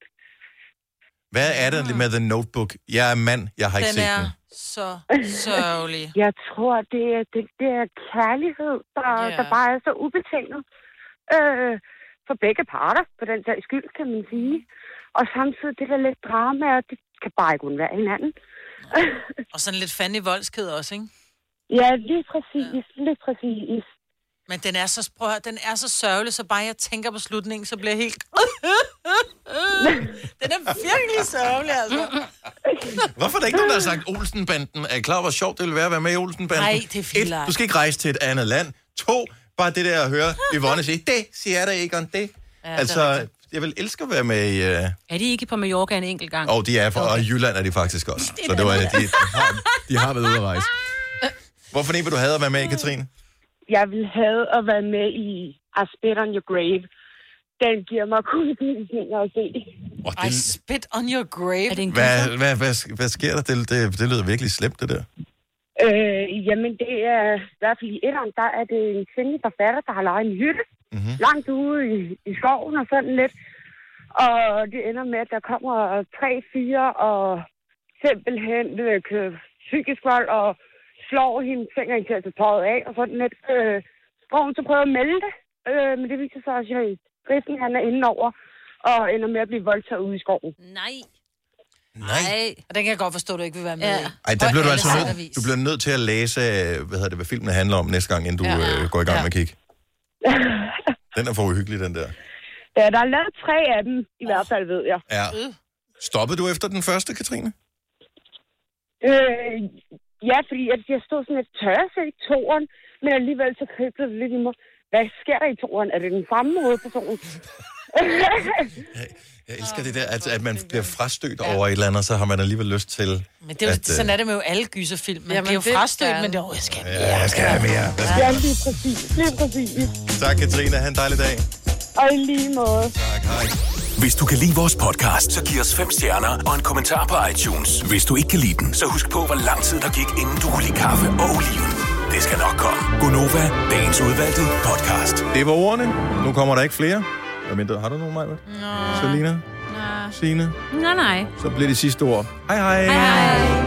Speaker 1: Hvad er det med The Notebook? Jeg er mand, jeg har ikke set den.
Speaker 3: så sørgelig.
Speaker 23: (laughs) Jeg tror, det er det der kærlighed, der, yeah. der bare er så ubetinget. Øh, for begge parter, på den der skyld, kan man sige. Og samtidig det der lidt drama, og det kan bare ikke undvære hinanden.
Speaker 3: Og sådan lidt fandig voldsked også, ikke?
Speaker 23: ja, lige præcis, ja. lige præcis.
Speaker 3: Men den er så, prøv at høre, den er så sørgelig, så bare jeg tænker på slutningen, så bliver jeg helt... (laughs) den er virkelig sørgelig, altså.
Speaker 1: Hvorfor er der ikke nogen, der har sagt Olsenbanden? Er I klar, over, hvor sjovt det ville være at være med i Olsenbanden?
Speaker 3: Nej, det er fint,
Speaker 1: Et,
Speaker 3: Lars.
Speaker 1: du skal ikke rejse til et andet land. To, bare det der at høre Yvonne sige, det siger jeg da ikke om det. Ja,
Speaker 4: Ja,
Speaker 1: altså,
Speaker 4: det er
Speaker 1: jeg vil elske at være med i... Øh...
Speaker 4: Er de ikke på Mallorca en enkelt gang?
Speaker 1: Og de er fra, okay. og i Jylland er de faktisk også. Så det var, de, de, har, de har været ude at rejse. Hvorfor ikke du havde at være med i, Katrine?
Speaker 23: Jeg ville have at være med i I Spit on Your Grave. Den giver mig kun (laughs) gysninger at se.
Speaker 1: Oh, det,
Speaker 3: Spit on your grave. Er det en
Speaker 1: hvad, hvad, hvad, hvad sker der? Det, det, det lyder virkelig slemt, det der.
Speaker 23: Øh, jamen, det er i hvert fald i etteren, der er det en kvindelig forfatter, der har lejet en hytte
Speaker 1: mm-hmm.
Speaker 23: langt ude i, i skoven og sådan lidt. Og det ender med, at der kommer tre, fire og simpelthen øh, kø- psykisk vold og slår hende, tænker hende til at tage tøjet af og sådan lidt. Øh, hvor hun så prøver at melde det, øh, men det viser sig også, at Griffen han er inde over og ender med at blive voldtaget ude i skoven.
Speaker 4: Nej.
Speaker 3: Nej. Og den kan jeg godt forstå, at du ikke vil være med ja. i.
Speaker 1: Ej, der
Speaker 3: På
Speaker 1: bliver du
Speaker 3: alle
Speaker 1: altså
Speaker 3: sæt og
Speaker 1: nødt,
Speaker 3: vis.
Speaker 1: du bliver nødt til at læse, øh, hvad hedder det, hvad filmen handler om næste gang, inden du
Speaker 23: Ja.
Speaker 1: øh, går i gang
Speaker 23: Ja.
Speaker 1: med at kigge. Den er for uhyggelig, den der.
Speaker 23: (laughs) Ja, der er lavet tre af dem, i hvert fald ved jeg.
Speaker 1: Ja. Stoppede du efter den første, Katrine?
Speaker 23: Øh, ja, fordi jeg, jeg stod sådan lidt tørre til i toren, men alligevel så kriblede det lidt i mig. Hvad sker der i toren? Er det den samme hovedperson?
Speaker 1: Jeg elsker det der, at, at man bliver frastødt over et eller andet, så har man alligevel lyst til...
Speaker 3: Men det er jo,
Speaker 1: at, øh,
Speaker 3: sådan er det med jo alle gyserfilm.
Speaker 23: Jamen,
Speaker 3: Man Jamen, bliver
Speaker 23: det
Speaker 3: jo frastødt,
Speaker 23: skal-
Speaker 3: men det er, oh, jeg skal
Speaker 1: øh, Ja, jeg skal have mere. Hvad skal-
Speaker 23: (laughs) ja, lige præcis. Lige præcis.
Speaker 1: Tak, Katrine. Ha' en dejlig dag.
Speaker 23: Og i lige måde.
Speaker 1: Tak, hej.
Speaker 11: Hvis du kan lide vores podcast, så giv os fem stjerner og en kommentar på iTunes. Hvis du ikke kan lide den, så husk på, hvor lang tid der gik, inden du kunne lide kaffe og oliven. Det skal nok komme.
Speaker 1: Gunova, dagens udvalgte podcast. Det var ordene. Nu kommer der ikke flere. Hvad mindre, har du nogen, Maja? Selina? Signe?
Speaker 2: Nej, nej.
Speaker 1: Så bliver det sidste ord. Hej hej.
Speaker 2: Hej, hej.